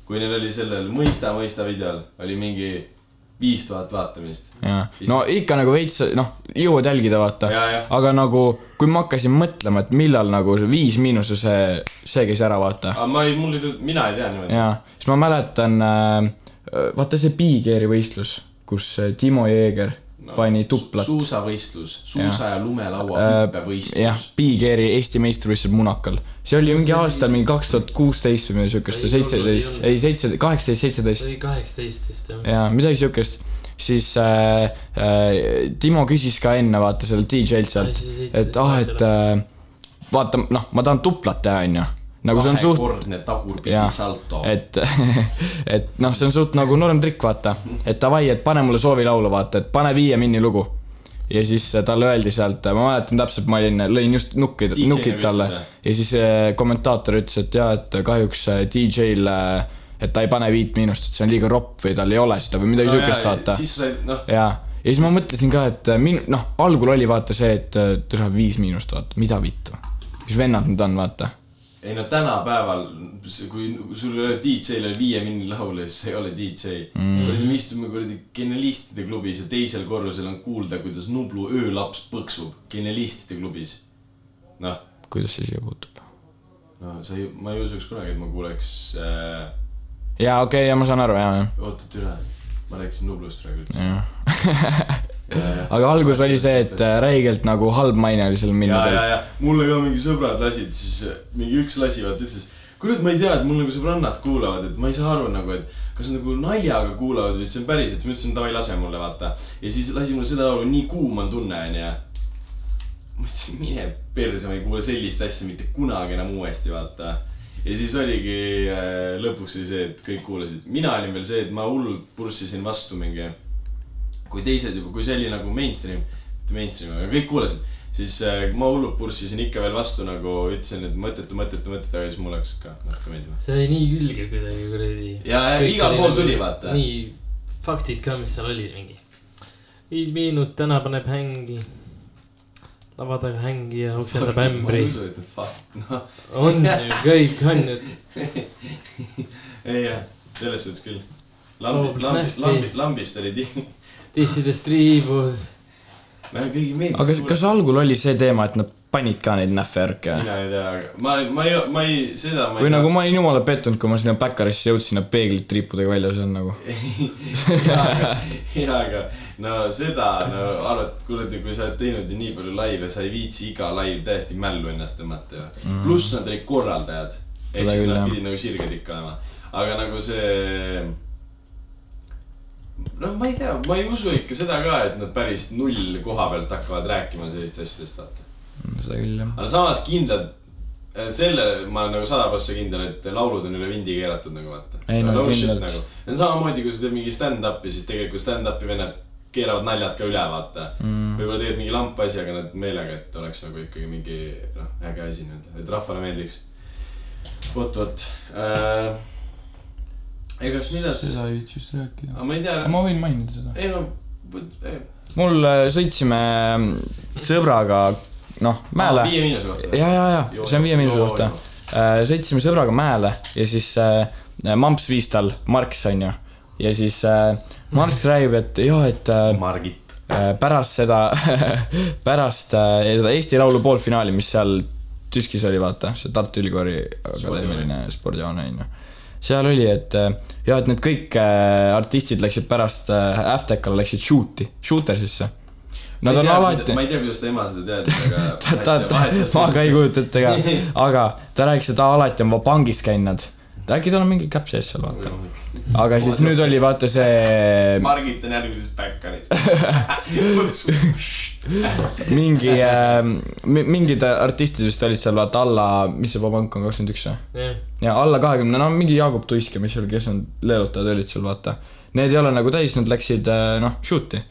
kui neil oli sellel Mõista , mõista videol oli mingi viis tuhat vaatamist . jah , no ikka nagu veits , noh , jõuad jälgida , vaata Jaa, jah. . aga nagu , kui ma hakkasin mõtlema , et millal nagu see Viis Miinuse see , see käis ära , Ah. vaata . aga ma ei , mul ei tulnud , mina ei tea niimoodi . jaa , siis ma mäletan äh, , vaata see Big Airi võistlus , kus äh, Timo Jeeger no, pani tuplat . suusavõistlus , suusa ja, ja lumelaua Äh, hüppevõistlus jah , Big Airi Eesti meistrivõistlused Munakal . see oli mingi aastal mingi kaks tuhat kuusteist või midagi siukest , Ei olnud, ei seitseteist , olnud. ei seitse , kaheksateist , seitseteist see . oli kaheksateist vist jah . jaa , midagi siukest , siis äh, äh, Timo küsis ka enne vaata sellelt DJ-lt sealt Asi seitseteist , et ah , et äh, vaata noh , ma tahan tuplat teha , onju . nagu see on suht , kahekordne tagurpidi Jah. salto . et , et noh , see on suht nagu norm trikk , vaata . et davai , et pane mulle soovilaulu , vaata , et pane Viie Minni lugu . ja siis äh, talle öeldi sealt , ma mäletan täpselt , ma olin , lõin just nukkid , DJ-le nukid talle ütles, jah? ja siis äh, kommentaator ütles , et jaa , et kahjuks äh, DJ-l , et ta ei pane Viit Miinust , et see on liiga ropp või tal ei ole seda või midagi no, siukest , vaata . siis sa said , noh , jaa , ja siis ma mõtlesin ka , et äh, min- , noh , algul oli vaata see , et äh, tere , Viis Miinust , vaata , mida vittu . mis vennad need on , vaata . ei no tänapäeval , kui kui sul ei ole DJ-l oli viie minni laulja , siis sa ei ole DJ mm. . kuradi , me istume kuradi genialistide klubis ja teisel korrusel on kuulda , kuidas Nublu öölaps põksub genialistide klubis . noh , kuidas see siia puutub ? no sa ei , ma ei usuks kunagi , et ma kuuleks äh, , jaa , okei okay, , ja ma saan aru , jaa , jah . oot-oot üle , ma rääkisin Nublust praegu üldse . Jah. aga algus oli see , et äh, räigelt nagu halb maine oli seal ja , ja minnadel ., ja mulle ka mingi sõbrad lasid , siis äh, mingi üks lasi , vaata ütles , kurat , ma ei tea , et mul nagu sõbrannad kuulavad , et ma ei saa aru nagu , et kas nad nagu naljaga kuulavad või et see on päriselt , siis ma ütlesin , davai , lase mulle , vaata . ja siis lasi mulle seda laulu Nii kuum on tunne , onju . ma ütlesin , mine perse , ma ei kuule sellist asja mitte kunagi enam uuesti , vaata . ja siis oligi , lõpuks oli see , et kõik kuulasid , mina olin veel see , et ma hullult purssisin vastu mingi kui teised juba , kui see oli nagu mainstream , mitte mainstream , aga kõik kuulasid , siis äh, ma hullult purssisin ikka veel vastu nagu ütlesin , et mõttetu , mõttetu , mõttetu , aga siis mulle hakkas ka natuke meeldima . see oli nii külge kuidagi kuradi . Ja, ja igal pool tuli, vaata. nii , faktid ka , mis seal oli mingi . viis miinust , täna paneb hängi . lava taga hängi ja oksendab ämbri . noh , on ju , kõik on ju . ei jah , selles suhtes küll . Oh, Laulab lambist , lambist , nähvi. lambist , lambist oli tihe . This is the streebus . väga kõigi nagu meeldis . aga kas- kas algul oli see teema , et nad panid ka neid nähvejärke ? mina ei tea , aga ma , ma ei , ma ei , seda ma ei . või nagu ma olin jumala pettunud , kui ma sinna Baccarisse jõudsin ja peeglid triipudega väljas on nagu . jaa , aga , jaa , aga no seda , no arvad , kuradi , kui sa oled teinud ju nii palju laive , sa ei viitsi iga laiv täiesti mällu ennast tõmmata ju mm. . pluss nad olid korraldajad , ehk Seda Mhm. siis küll, nad jah. pidid nagu sirged ikka olema , aga nagu see . no ma ei tea , ma ei usu ikka seda ka , et nad päris null koha pealt hakkavad rääkima sellistest asjadest , vaata . seda küll jah . aga samas kindlalt , selle ma olen nagu sada prossa kindel , et laulud on üle vindi keeratud nagu vaata . Ei, no kindlalt. nagu. . see on samamoodi , kui sa teed mingi stand-up'i , siis tegelikult stand-up'i vennad keeravad naljad ka üle , vaata mm. . võib-olla tegelikult mingi lamp asi , aga nad meelega , et oleks nagu ikkagi mingi noh , äge asi nii-öelda , et rahvale meeldiks . vot , vot äh, . ega siis mida siis , ei viitsi just rääkida . ma ei tea , ma võin mainida seda . ei no , ei , mul äh, sõitsime mm, sõbraga , noh , mäele . Ah, viie miinuse kohta . ja , ja , ja see on viie miinuse kohta . sõitsime sõbraga mäele ja siis äh, mamps viis tal , Marks onju . ja siis äh, Marks räägib , et jah , et äh, Margit . äh, pärast seda , pärast äh, seda Eesti Laulu poolfinaali , mis seal Tüskis oli , vaata , see Tartu Ülikooli akadeemiline spordihoone onju . seal oli , et äh, ja , et need kõik äh, artistid läksid pärast äh, Aftekale läksid shoot'i , shootersisse . Nad on alati . ma ei tea , kuidas ta ema seda teadis , aga . ta , ta , ma ka ei kujuta ette ka , aga ta rääkis , et ta alati on vabangis käinud . äkki tal on mingi käpp sees seal vaata . aga siis nüüd oli vaata see Margit on järgmises päkkaris . Ah, mingi äh, , mingid artistid vist olid seal vaata alla , mis see vabank on , kakskümmend üks või ? jah , ja alla kahekümne , no mingi Jaagup Tuisk ja mis seal , kes on , leelutajad olid seal vaata . Need ei ole nagu täis , nad läksid äh, noh , shoot'i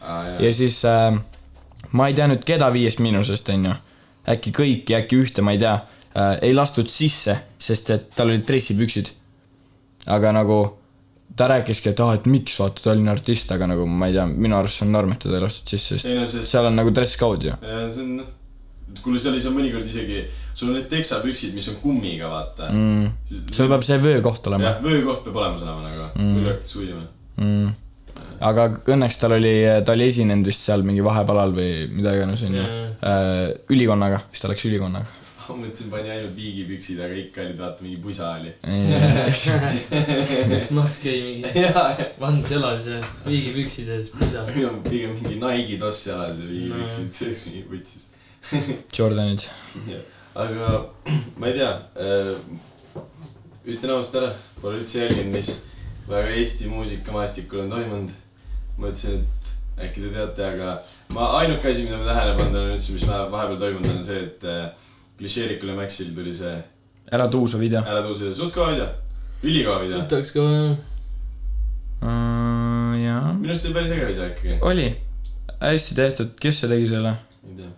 ja siis äh, ma ei tea nüüd , keda Viiest Miinusest onju , äkki kõiki , äkki ühte , ma ei tea äh, , ei lastud sisse , sest et tal olid dressipüksid . aga nagu ta rääkiski , et aa , et miks vaata , ta oli artist , aga nagu ma ei tea , minu arust see on norm , et teda ei lastud sisse , ei no sest sest seal on nagu dress code ju . Ja see on , kuule , seal ei saa mõnikord isegi , sul on need teksapüksid , mis on kummiga , vaata Mm. sul peab see vöökoht olema jah , vöökoht peab olemas olema nagu mm. , kui sa hakkad suudima . mm. . aga õnneks tal oli , ta oli esinenud vist seal mingi vahepalal või mida iganes onju Äh, Mm. , ülikonnaga , siis ta läks ülikonnaga . ma mõtlesin , pani ainult viigipüksid , aga ikka oli , vaata , mingi pusa oli . siis Max käi mingi vand selas ja viigipüksid ja siis pusa . minul on pigem mingi Nike'i toss jalas ja viigipüksid no. , see oleks mingi võtsis . Jordanid . aga ma ei tea äh, , ütlen ausalt ära , pole üldse jälginud , mis väga Eesti muusikamaastikul on toimunud . mõtlesin , et äkki te teate , aga ma , ainuke asi , mida ma tähele pannud olen üldse , mis vahe- vahepeal toimunud on , on see , et äh, klišeerikule Maxil tuli see ära tuusa video . Ära tõuse , suht kõva video , ülikõva video . võtaks ka vaja . jaa . minu arust oli päris äge video ikkagi . Äh, oli , hästi tehtud , kes see tegi selle ? ei tea .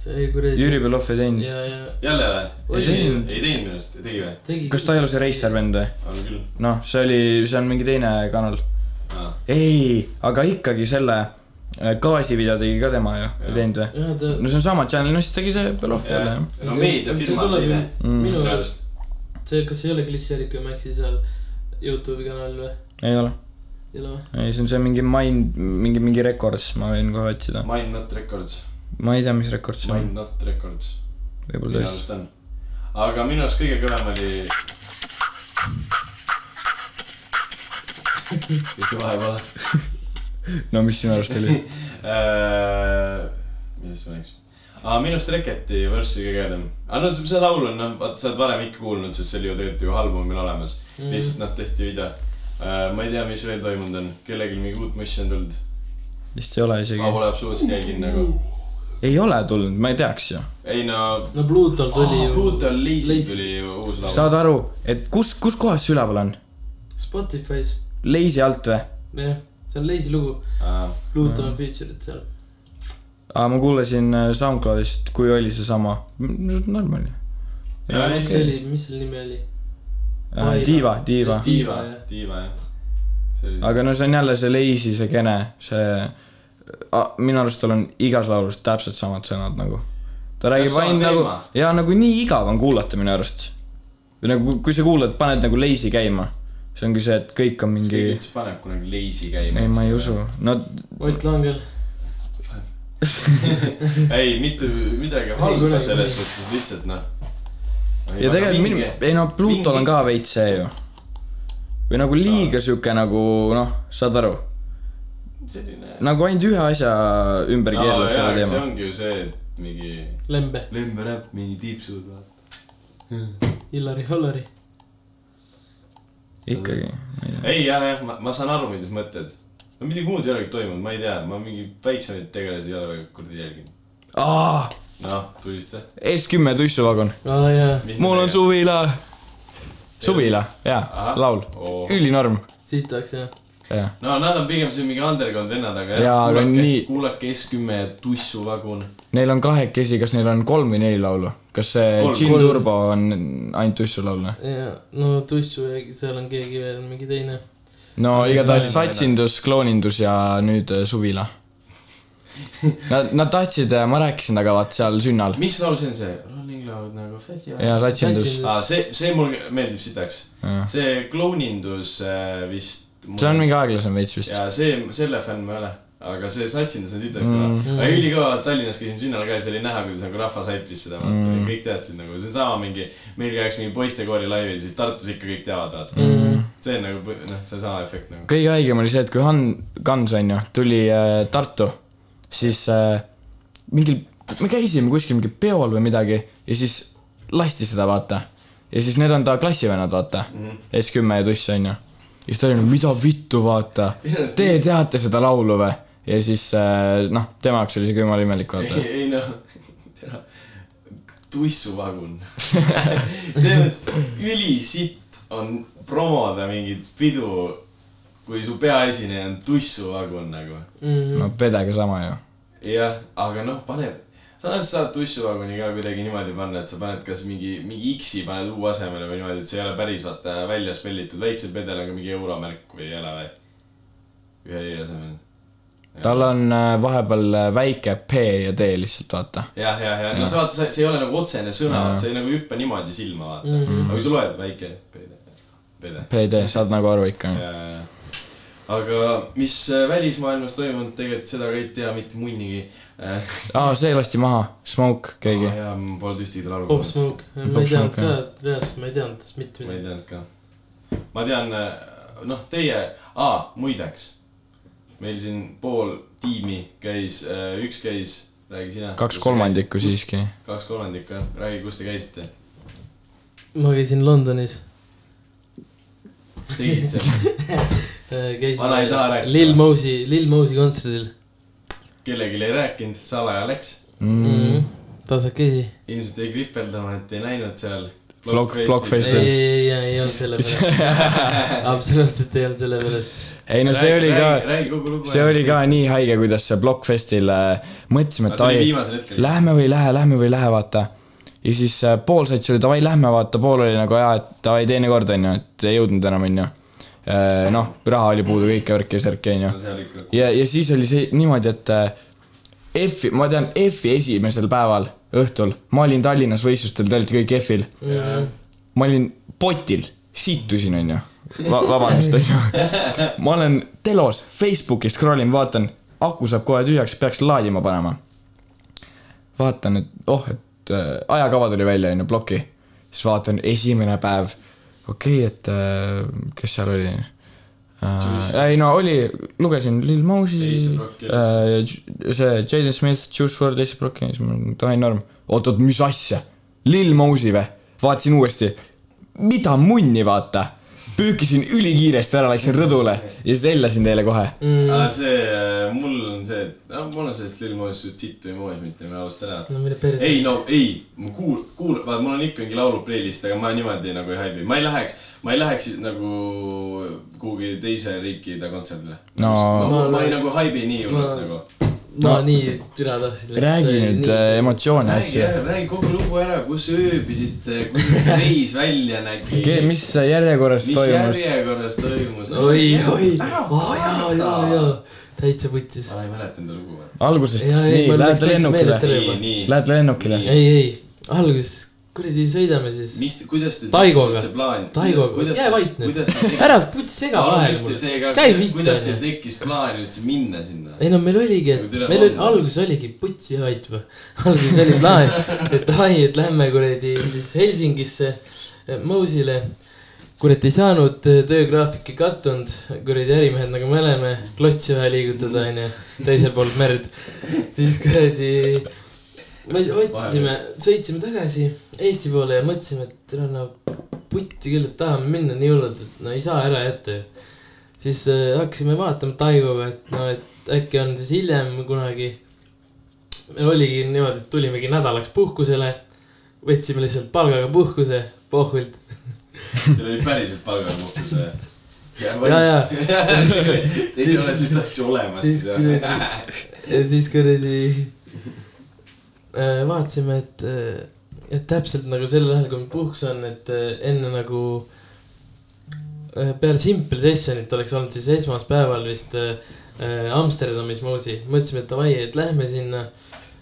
see kuradi . Jüri Belov ei teinud . ja , ja jälle või ? Ei teinud. ei teinud minu arust , tegi või ? tegi . kas ta ei ole see Reisar vend või ? on küll . noh , see oli , see on mingi teine kanal . ei , aga ikkagi selle äh, gaasivideo tegi ka tema ju , ei Jah. teinud või ? jah , ta . no see on sama channel , no siis tegi see Belov jälle jah . no meediafirma on teine . Mm. minu minu arust arust . see , kas ei ole Glitcherik ja Maxi seal Youtube'i kanal või ? ei ole , ei ole või ? ei see on see mingi Mind , mingi , mingi rekord , siis ma võin kohe otsida . Mind Not Records , ma ei tea , mis rekord see on Mind , Not Records . minu võib-olla tõesti . arust on . aga minu arust kõige kõvem oli . kõike vahepeal . no mis sinu arust oli ? millest Äh, ma rääkisin ? aa , minu arust Reketi versi kõige ägedam . aga no see laul on noh , vaata sa oled varem ikka kuulnud , sest see oli ju tegelikult ju albumil olemas mm. . lihtsalt noh , tehti video . ma ei tea , mis veel toimunud on , kellelgi mingi uut mossi on tulnud . vist ei ole ma isegi . pole absoluutselt jälginud nagu . ei ole tulnud , ma ei teaks ju . ei no , no Pluutolt oli ju . Brutal Ah, Lazy Lazy. tuli ju uus laul . saad aru , et kus , kus kohas see üleval on ? Spotify's , Leisi alt või ? jah , see on leisi lugu , Pluto Mm. on feature'id seal . aga ma kuulasin äh, SoundCloudist , kui oli seesama , normaalne . Jaa, Ah, mis okei. see oli , mis selle nimi oli ? Vaila. Diiva , Diiva , Diiva Diiva, jah. , Diiva jah . see oli see . aga no see on jälle see Leisi , see Kene , see , minu arust tal on igas laulus täpselt samad sõnad nagu . ta räägib sama ainult nagu teema. , ja nagu nii igav on kuulata minu arust . või nagu , kui sa kuulad , paned nagu Leisi käima , see ongi see , et kõik on mingi keegi , üldse paneb kunagi Lazy käima . ei ma ei usu , no Ott Langel , ei , mitte midagi halba kunagi- selles suhtes , lihtsalt noh . ja tegelikult minu , ei no Pluutol on ka veits see ju . või nagu liiga sihuke nagu noh , saad aru selline . nagu ainult ühe asja ümber no keerlata jaa , no, aga see teema . ongi ju see , et mingi . Lembe , lembe näpp , mingi tiipsud vaata . Illari Hollari . ikkagi , ma ei tea . ei , jaa , jah , ma , ma saan aru , mida sa mõtled . no midagi muud ei olegi toimunud , ma ei tea , ma mingi väiksemaid tegelasi ei ole väga kuradi jälginud . aa , noh , tulista . S10 tuissuvagun . aa Ah, jaa , mul on . suvila . suvila , jaa Ahah. , laul . Oo. ülinorm , siit tahaks jah . jah . no nad on pigem siin mingi underground vennad , aga jah, Jaa, aga kuulake- nii- kuulake S10 tussuvagun . Neil on kahekesi , kas neil on kolm või neli laulu ? kas see Kolm. Gin Kolm. Turbo on ainult noh? tuissulaul või ? ja , no Tussu ja seal on keegi veel , mingi teine . no igatahes ei, ei, ei. satsindus , kloonindus ja nüüd äh, suvila . Nad , nad tahtsid , ma rääkisin temaga vaat seal sünnal mis laul see on see ? Rolling loud nagu festival . ja satsindus . aa , Ah, see , see mulle meeldib sitaks . see see klounindus äh, vist . on mingi aeglasem veits vist . ja see , selle fänn ma ei ole , aga see satsindus on sitaks mm. . Mm. aga ülikõva Tallinnas käisime sünnal ka ja seal oli näha , kuidas nagu rahvas haipis seda mm. Mm. , kõik teadsid nagu , see on sama mingi , meil käiks mingi poistekooli laivil , siis Tartus ikka kõik teavad , vaata mm. . Mm. see on nagu , noh , see on sama efekt nagu . kõige haigem oli see , et kui Han- , Kans onju tuli äh, Tartu , siis äh, mingil , me käisime kuskil mingi peol või midagi ja siis lasti seda vaata . ja siis need on ta klassivennad vaata mm , -hmm. S10 ja Tuss onju . ja siis ta oli nagu mida vittu vaata , te teate seda laulu või ? ja siis äh, noh , tema jaoks oli see küll jumala imelik vaata ei , ei noh , tea , tussuvagun . selles mõttes ülisitt on promoda mingit pidu , kui su peaesineja on tussuvagun nagu . no pedega sama ju . jah , aga noh , paned , samas saad tussuvaguni ka kuidagi niimoodi panna , et sa paned kas mingi , mingi X-i paned U asemele või niimoodi , et see ei ole päris vaata välja spellitud , väiksel pedel on ka mingi euromärk või ei ole või ? ühe E asemel . tal on äh, vahepeal äh, väike P ja D lihtsalt vaata . jah , jah , ja no sa vaata , see , see ei ole nagu otsene sõna , sa ei nagu hüppa niimoodi silma vaata mm . -hmm. aga kui sa loed väike pede , pede . PD , saad nagu aru ikka . Äh, aga mis äh, välismaailmas toimunud , tegelikult seda ka ei tea mitte munnigi . aa , see lasti maha , Smoke keegi . jaa , ma polnud ühtegi tal aru Pop . Smoke , ma Pop ei teadnud Smoke, ka jah. , reaalselt ma ei teadnud tast mitte ma ei midagi . teadnud ka . ma tean , noh , teie , aa , muideks . meil siin pool tiimi käis , üks käis , räägi sina . kaks kolmandikku . siiski . kaks kolmandikku , jah , räägi , kus te käisite . ma käisin Londonis . tegid seal Vana ei taha rääkida. käisin Lil Mosey , Lil Mosey kontserdil kellelegi ei rääkinud , salaja läks Mm. Mhm. tasakesi . ilmselt jäi kripeldama , et ei näinud seal . Block- ei , Blockfestil. ei , ei , ei , ei olnud selle pärast . absoluutselt ei olnud selle pärast . ei no see oli ka , räägi kogu lugu . see oli ka . nii haige , kuidas see Blockfestil äh, mõtlesime , et ta oli ai , viimasel hetkel . lähme või ei lähe , lähme või ei lähe , vaata . ja siis äh, pool said selle davai , lähme , vaata , pool oli nagu jaa , et davai , teinekord onju , et ei jõudnud enam onju . noh , raha oli puudu , kõike värki ja särki onju . seal ikka . ja , ja siis oli see niimoodi , et äh, F-i , ma tean F-i esimesel päeval õhtul , ma olin Tallinnas võistlustel , te olite kõik F-il . ma olin potil , situsin , onju Va . vabandust , onju . ma olen telos , Facebookis scroll in , vaatan , aku saab kohe tühjaks , peaks laadima panema . vaatan , et oh , et äh, ajakava tuli välja , onju , ploki . siis vaatan , esimene päev , okei okay, , et äh, kes seal oli äh, ? ei no oli , lugesin Lil Mosey , Jason Rock ja äh, see Jaden Smith , Juice WRLD , Ace Brocki , siis ma olin , davai , norm . oot-oot , mis asja ? Lil Mosey või ? vaatasin uuesti , mida munni , vaata . püükisin ülikiiresti ära , läksin rõdule ja siis hellasin teile kohe . Mm. aga Ah, see , mul on see , et no, mul on sellest ilmuasjast suht sitt või moes , mitte ma ausalt ära . no mine perse . ei no ei , ma kuul- , kuul- , vaata mul on ikkagi laulu playlist , aga ma niimoodi nagu ei haibi , ma ei läheks , ma ei läheks nagu kuhugi teise riiki ta kontserdile . No. ma, ma ei nagu haibi nii hullult Ma- nagu . ma No. nii türa tahtsin . räägi nüüd äh, emotsioone räägi asju ., räägi kogu lugu ära , kus ööbisite , kuidas reis välja nägi . mis järjekorras mis toimus ? järjekorras toimus ? äh. oi , oi , aa jaa , jaa , jaa , täitsa putis . ma Ah, ei mäleta enda lugu . algusest , Jaa, ei, nii , mul läks lähed täitsa lennukile meelest ära. , nii juba. , nii . lähed lennukile . ei , ei , alguses , kuradi , sõidame siis . mis , kuidas te Taigoga. see plaan ? Taigoga. Jää vait nüüd. ära ära puti sega vahele mulle , käi noh. kuidas teil vitt . tekkis plaan üldse minna sinna ? ei no meil oligi , Nagu et tüle meil oli , vanglas. alguses oligi putsi ja vait või , alguses oli plaan , et ai , et lähme kuradi siis Helsingisse , Mousile . kurat ei saanud , töögraafik ei kattunud , kuradi ärimehed nagu me oleme , klotsi vaja liigutada onju , teisel pool merd . siis kuradi , me otsisime , sõitsime tagasi Eesti poole ja mõtlesime , et teil on nagu putti küll , et tahame minna nii hullult , et no ei saa ära jätta ju . siis äh, hakkasime vaatama Taigoga , et no , et äkki on siis hiljem kunagi . meil oligi niimoodi , et tulimegi nädalaks puhkusele , võtsime lihtsalt palgaga puhkuse , pohvilt . Teil oli päriselt palgamuutus või ? ja , ja Teil ei ole sellist asja olemas siis siis kuradi jah ?, siis kuradi äh, vaatasime , et , et täpselt nagu sel ajal , kui meil puhkus on , et äh, enne nagu äh, peale simple session'it oleks olnud siis esmaspäeval vist äh, äh, Amsterdamis Moosi , mõtlesime , et davai , et lähme sinna .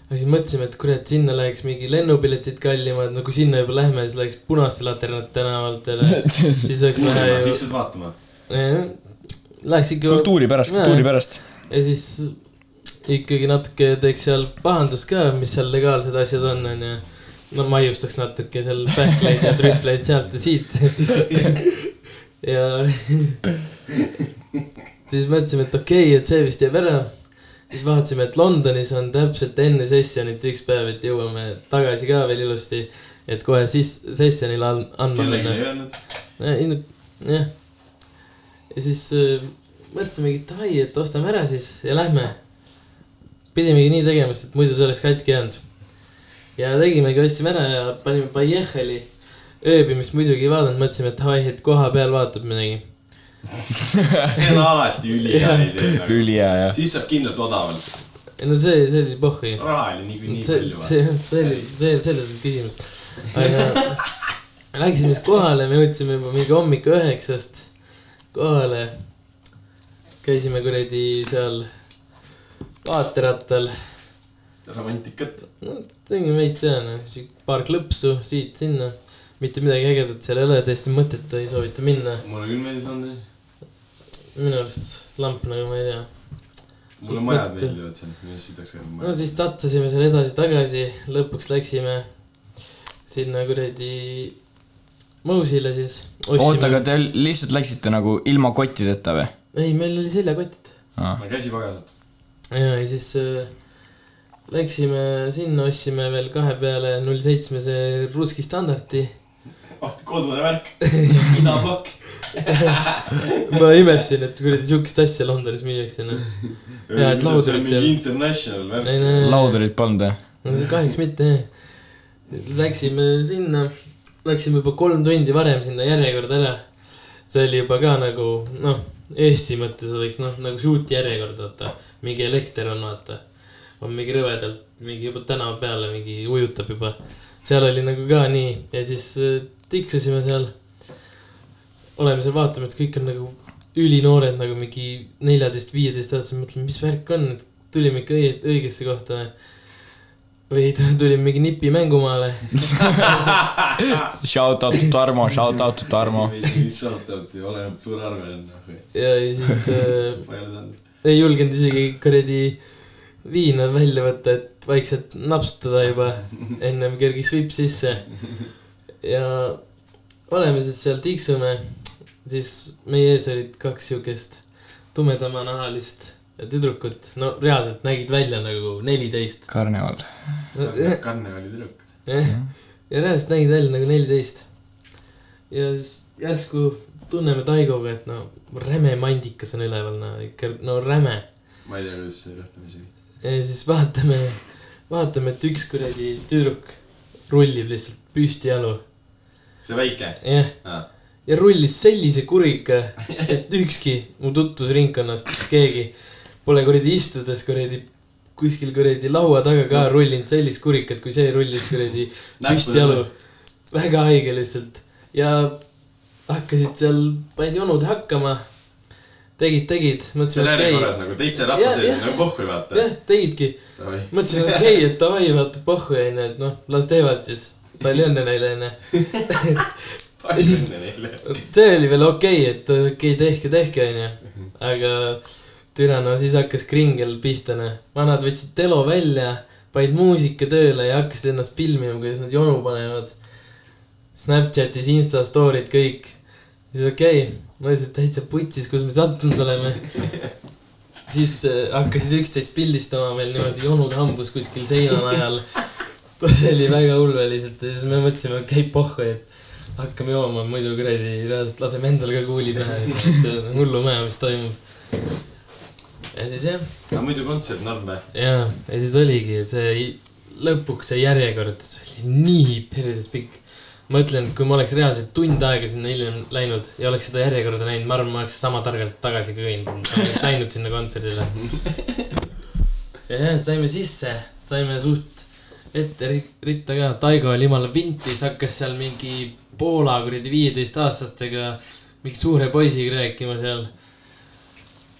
aga siis mõtlesime , et kurat , sinna läheks mingi lennupiletid kallimad , no kui sinna juba lähme , siis läheks punaste laternate tänavatele , siis oleks vähe ju lihtsalt vaatama . Jah, Läheks ikka kultuuri pärast , kultuuri Jaa. pärast . ja siis ikkagi natuke teeks seal pahandust ka , mis seal legaalsed asjad on , onju . no maiustaks natuke seal pähkleid ja trühvleid sealt ja siit . ja siis mõtlesime , et okei okay, , et see vist jääb ära . siis vaatasime , et Londonis on täpselt enne sessionit üks päev , et jõuame tagasi ka veel ilusti . et kohe siis sessionile an- andma kellelegi ei öelnud . Ja, Äh, ei no jah . ja siis äh, mõtlesimegi , et davai , et ostame ära siis ja lähme . pidimegi nii tegema , sest muidu see oleks katki jäänud . ja tegimegi , ostsime ära ja panime Bajehhali ööbimist muidugi ei vaadanud , mõtlesime , et davai , et koha peal vaatab midagi . see on alati ülihea idee nagu. . ülihea ja . siis saab kindlalt odavalt . ei no see , see oli pohhui . raha oli niikuinii see , palju vaja . see , see oli , see , selles on küsimus . aga läksime siis kohale , me jõudsime juba mingi hommik üheksast kohale . käisime kuradi seal vaaterattal , romantikat . tegime veits seal , paar klõpsu siit-sinna . mitte midagi ägedat seal ei ole , täiesti mõttetu , ei soovita minna . mulle küll meeldis Andres . minu arust lamp nagu ma ei tea . mulle majad meeldivad seal , minu arust siit oleks ka no maja . siis tatsusime seal edasi-tagasi , lõpuks läksime sinna kuradi Mousile siis . oota , aga te lihtsalt läksite nagu ilma kottideta või ? ei , meil oli seljakotid . ma käsi pagasalt . ja , ja siis äh, läksime sinna , ostsime veel kahe peale null seitsmese Ruski standardi . vaata , kodune värk . idablokk . ma imestasin , et kuradi siukest asja Londonis müüakse , noh . Jaa, et laudurit ja . ja- international värk . ei no , laudurit polnud või ? no see kahjuks mitte , jah . Läksime sinna , läksime juba kolm tundi varem sinna järjekorda ära . see oli juba ka nagu noh , Eesti mõttes oleks noh , nagu suurt järjekord , vaata . mingi elekter on , vaata . on mingi rõvedalt , mingi juba tänava peale mingi ujutab juba . seal oli nagu ka nii ja siis äh, tiksusime seal . oleme seal , vaatame , et kõik on nagu ülinoored nagu mingi neljateist , viieteist aastased , mõtleme , mis värk on , et tulime ikka õi- õigesse kohta või tu- tulin mingi nipi mängumaale , Shout out to Tarmo , shout out to Tarmo . Shoutout ja oleneb suure arve enne . ja ja siis äh, noh, ma ei ole saanud . ei julgenud isegi kuradi viina välja võtta , et vaikselt napsutada juba , ennem kergis vipp sisse . ja oleme siis seal tiksume , siis meie ees olid kaks siukest tumedamanahalist tüdrukut , no reaalselt nägid välja nagu neliteist . karneval . kanne oli tüdruk . jah , Eh, ja reaalselt nägid välja nagu neliteist . ja siis järsku tunneme Taigoga , et no räme mandikas on üleval , no ikka , no räme . ma ei tea , kuidas see rõhkab isegi . ja siis vaatame , vaatame , et üks kuradi tüdruk rullib lihtsalt püsti jalu , see väike . jah . ja rullis sellise kurika , et ükski mu tutvusringkonnast keegi pole kuradi istudes kuradi kuskil kuradi laua taga ka rullinud sellist kurikat , kui see rullis kuradi püsti jalu . väga haige lihtsalt ja hakkasid seal , panid jonud hakkama . tegid , tegid , seal mõtlesin okei järjekorras okay. , nagu teiste rahva Jah, sees jah. nagu pohhu ei vaata . jah , tegidki , mõtlesin okei okay, , et davai , vaata pohhu onju , et noh , las teevad siis , palju õnne neile onju . palju siis- õnne neile . see oli veel okei okay, , et okei okay, , tehke , tehke onju , aga türa no siis hakkas kringel pihta noh , vanad võtsid telo välja , panid muusika tööle ja hakkasid ennast filmima , kuidas nad jonu panevad . Snapchatis , Insta story'd kõik , siis okei okay, , ma olin lihtsalt täitsa putsis , kus me sattunud oleme . siis äh, hakkasid üksteist pildistama meil niimoodi jonud hambus kuskil seina najal . see oli väga hull veel lihtsalt ja siis me mõtlesime , okei okay, , pohhu , et hakkame jooma , muidu kuradi reaalselt laseme endale ka kuuli pähe , et hullumaja , mis toimub . ja siis jah , aga muidu kontsert Narve . ja , ja siis oligi et see i- lõpuks see järjekord , see oli nii perses pikk . ma ütlen , et kui ma oleks reaalselt tund aega sinna hiljem läinud ja oleks seda järjekorda näinud , ma arvan , ma oleks sama targalt tagasi kõndinud , ma oleks läinud sinna kontserdile . ja jah , saime sisse , saime suht ette ri- ritta ka , Taigo oli jumala vintis , hakkas seal mingi Poola kuradi viieteist aastastega mingi suure poisiga rääkima seal .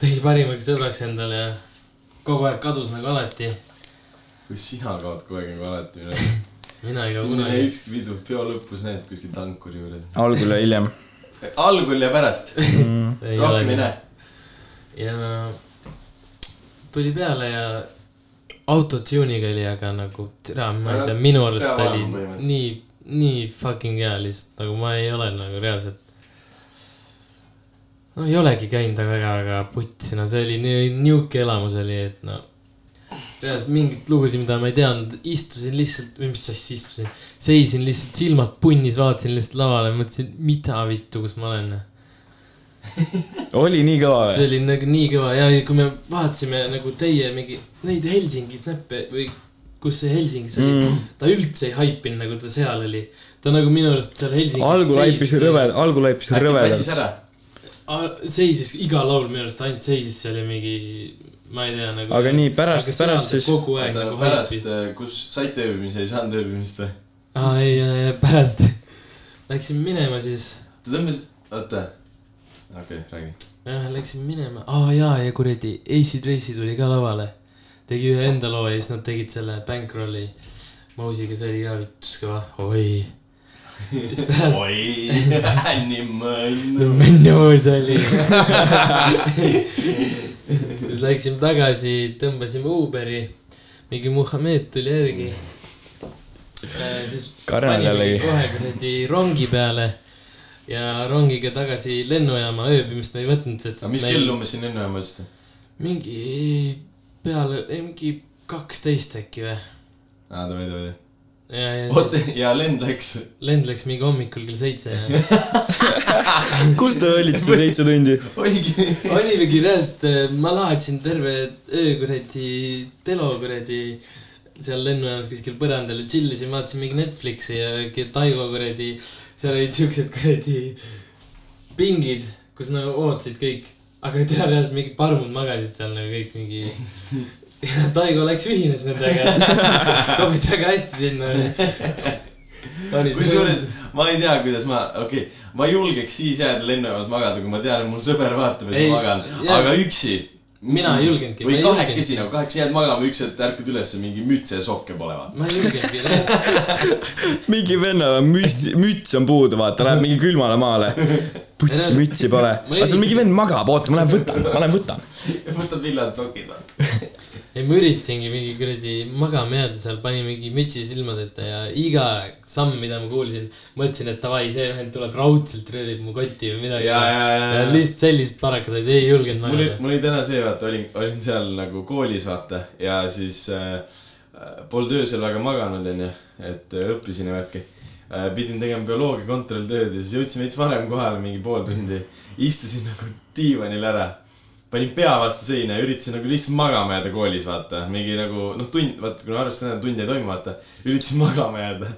tegi parimaks sõbraks endale ja kogu aeg kadus nagu alati . kus sina kaod kogu aeg nagu alati üle . mina ei kao siin ei kunagi ole . ükski pidu , peo lõpus näed kuskil tankuri juures . algul ja hiljem . algul ja pärast , rohkem ei . näe . ja tuli peale ja autotune'iga oli aga nagu , tea , ma ei tea , minu arust Peavalu oli põhimõtteliselt. nii , nii fucking hea lihtsalt , nagu ma ei ole nagu reaalselt . no ei olegi käinud väga , aga putsi , no see oli nii , nihuke elamus oli , et no . reaalselt mingeid lugusid , mida ma ei teadnud , istusin lihtsalt , või mis asja istusin , seisin lihtsalt silmad punnis , vaatasin lihtsalt lavale , mõtlesin , mida vittu , kus ma olen oli nii kõva see või ? oli nagu nii kõva ja ja kui me vaatasime nagu teie mingi neid Helsingi snappe või kus see Helsingis oli mm. , ta üldse ei haipinud , nagu ta seal oli . ta nagu minu arust seal Helsingis algul haipis rõve , algul haipis äkki passis ära rõvedalt .. seisis iga laul minu arust ainult seisis , see oli mingi , ma ei tea nagu . Aga nii, pärast- pärast siis- kogu aeg oota nagu , pärast äh, haipis ., kus saite ööbimisi , ei saanud äh, ööbimist või ? aa ei , pärast läksime minema siis , Te tõmbasite , oota . okei okay, , räägi . jah läksime Äh, minema , aa jaa ja kuradi , AC Tracy tuli ka lavale . tegi ühe enda loo ja siis nad tegid selle Bankrolli Mousiga , see oli ka vittus kõva , oi . siis pärast oi , animõnn . minu see oli . siis läksime tagasi , tõmbasime Uberi , mingi Muhamed tuli järgi . siis Karel panime jällegi. kohe kuradi rongi peale ja rongiga tagasi lennujaama ööbimist me ei võtnud , sest aga mis meil- kell umbes siin enne mõtlesite ? mingi peale , ei mingi kaksteist äkki või ? aa , davai , davai . ja , ja oota siis , ja lend läks . lend läks mingi hommikul kell seitse ja kus te olite see seitse tundi ? oligi . olimegi reaalselt , äh, ma laadsin terve öö kuradi telo kuradi seal lennujaamas kuskil põrandal ja tšillisin , vaatasin mingi Netflixi ja mingi Taivo kuradi , seal olid siuksed kuradi pingid , kus nagu ootasid kõik , aga tead , reaalselt mingid parmud magasid seal nagu kõik mingi . Taigo läks , ühines nendega , sobis väga hästi sinna . kusjuures ma ei tea , kuidas ma , okei okay, , ma julgeks siis jääda lennujaamas magada , kui ma tean , et mul sõber vaatab , et Ei, ma magan , jaa. aga üksi . Mina ei julgenudki, ma või ei kahekesi julgenudki. nagu , kahekesi jääd magama , üks hetk ärkad ülesse , mingi mütse ja sokke pole vaata . ma ei julgenudki reaalselt , mingi vennal on müts , müts on puudu , vaata , läheb mingi külmale maale . putsi mütsi pole . aga seal mingi vend magab , oota , ma lähen võtan , ma lähen võtan . võtad villased sokid vaata . ei ma üritasingi mingi kuradi magama jääda seal , panin mingi mütsi silmadeta ja iga samm , mida ma kuulsin , mõtlesin , et davai , see vend tuleb raudselt röövib mu kotti või midagi . ja , ja , ja , ja . lihtsalt sellist parakad , ei julgenud mul oli magada ,. mul oli täna see , vaata , olin , olin seal nagu koolis , vaata , ja siis äh, polnud öösel väga maganud , onju , et äh, õppisin ja värki äh, . pidin tegema bioloogia kontrolltööd ja siis jõudsin veits varem kohale , mingi pool tundi . istusin nagu diivanil ära , panin pea vastu seina ja üritasin nagu lihtsalt magama jääda koolis , vaata , mingi nagu noh , tund , vaata , kuna arvestades täna tunde ei toimu , vaata , üritasin magama jääda .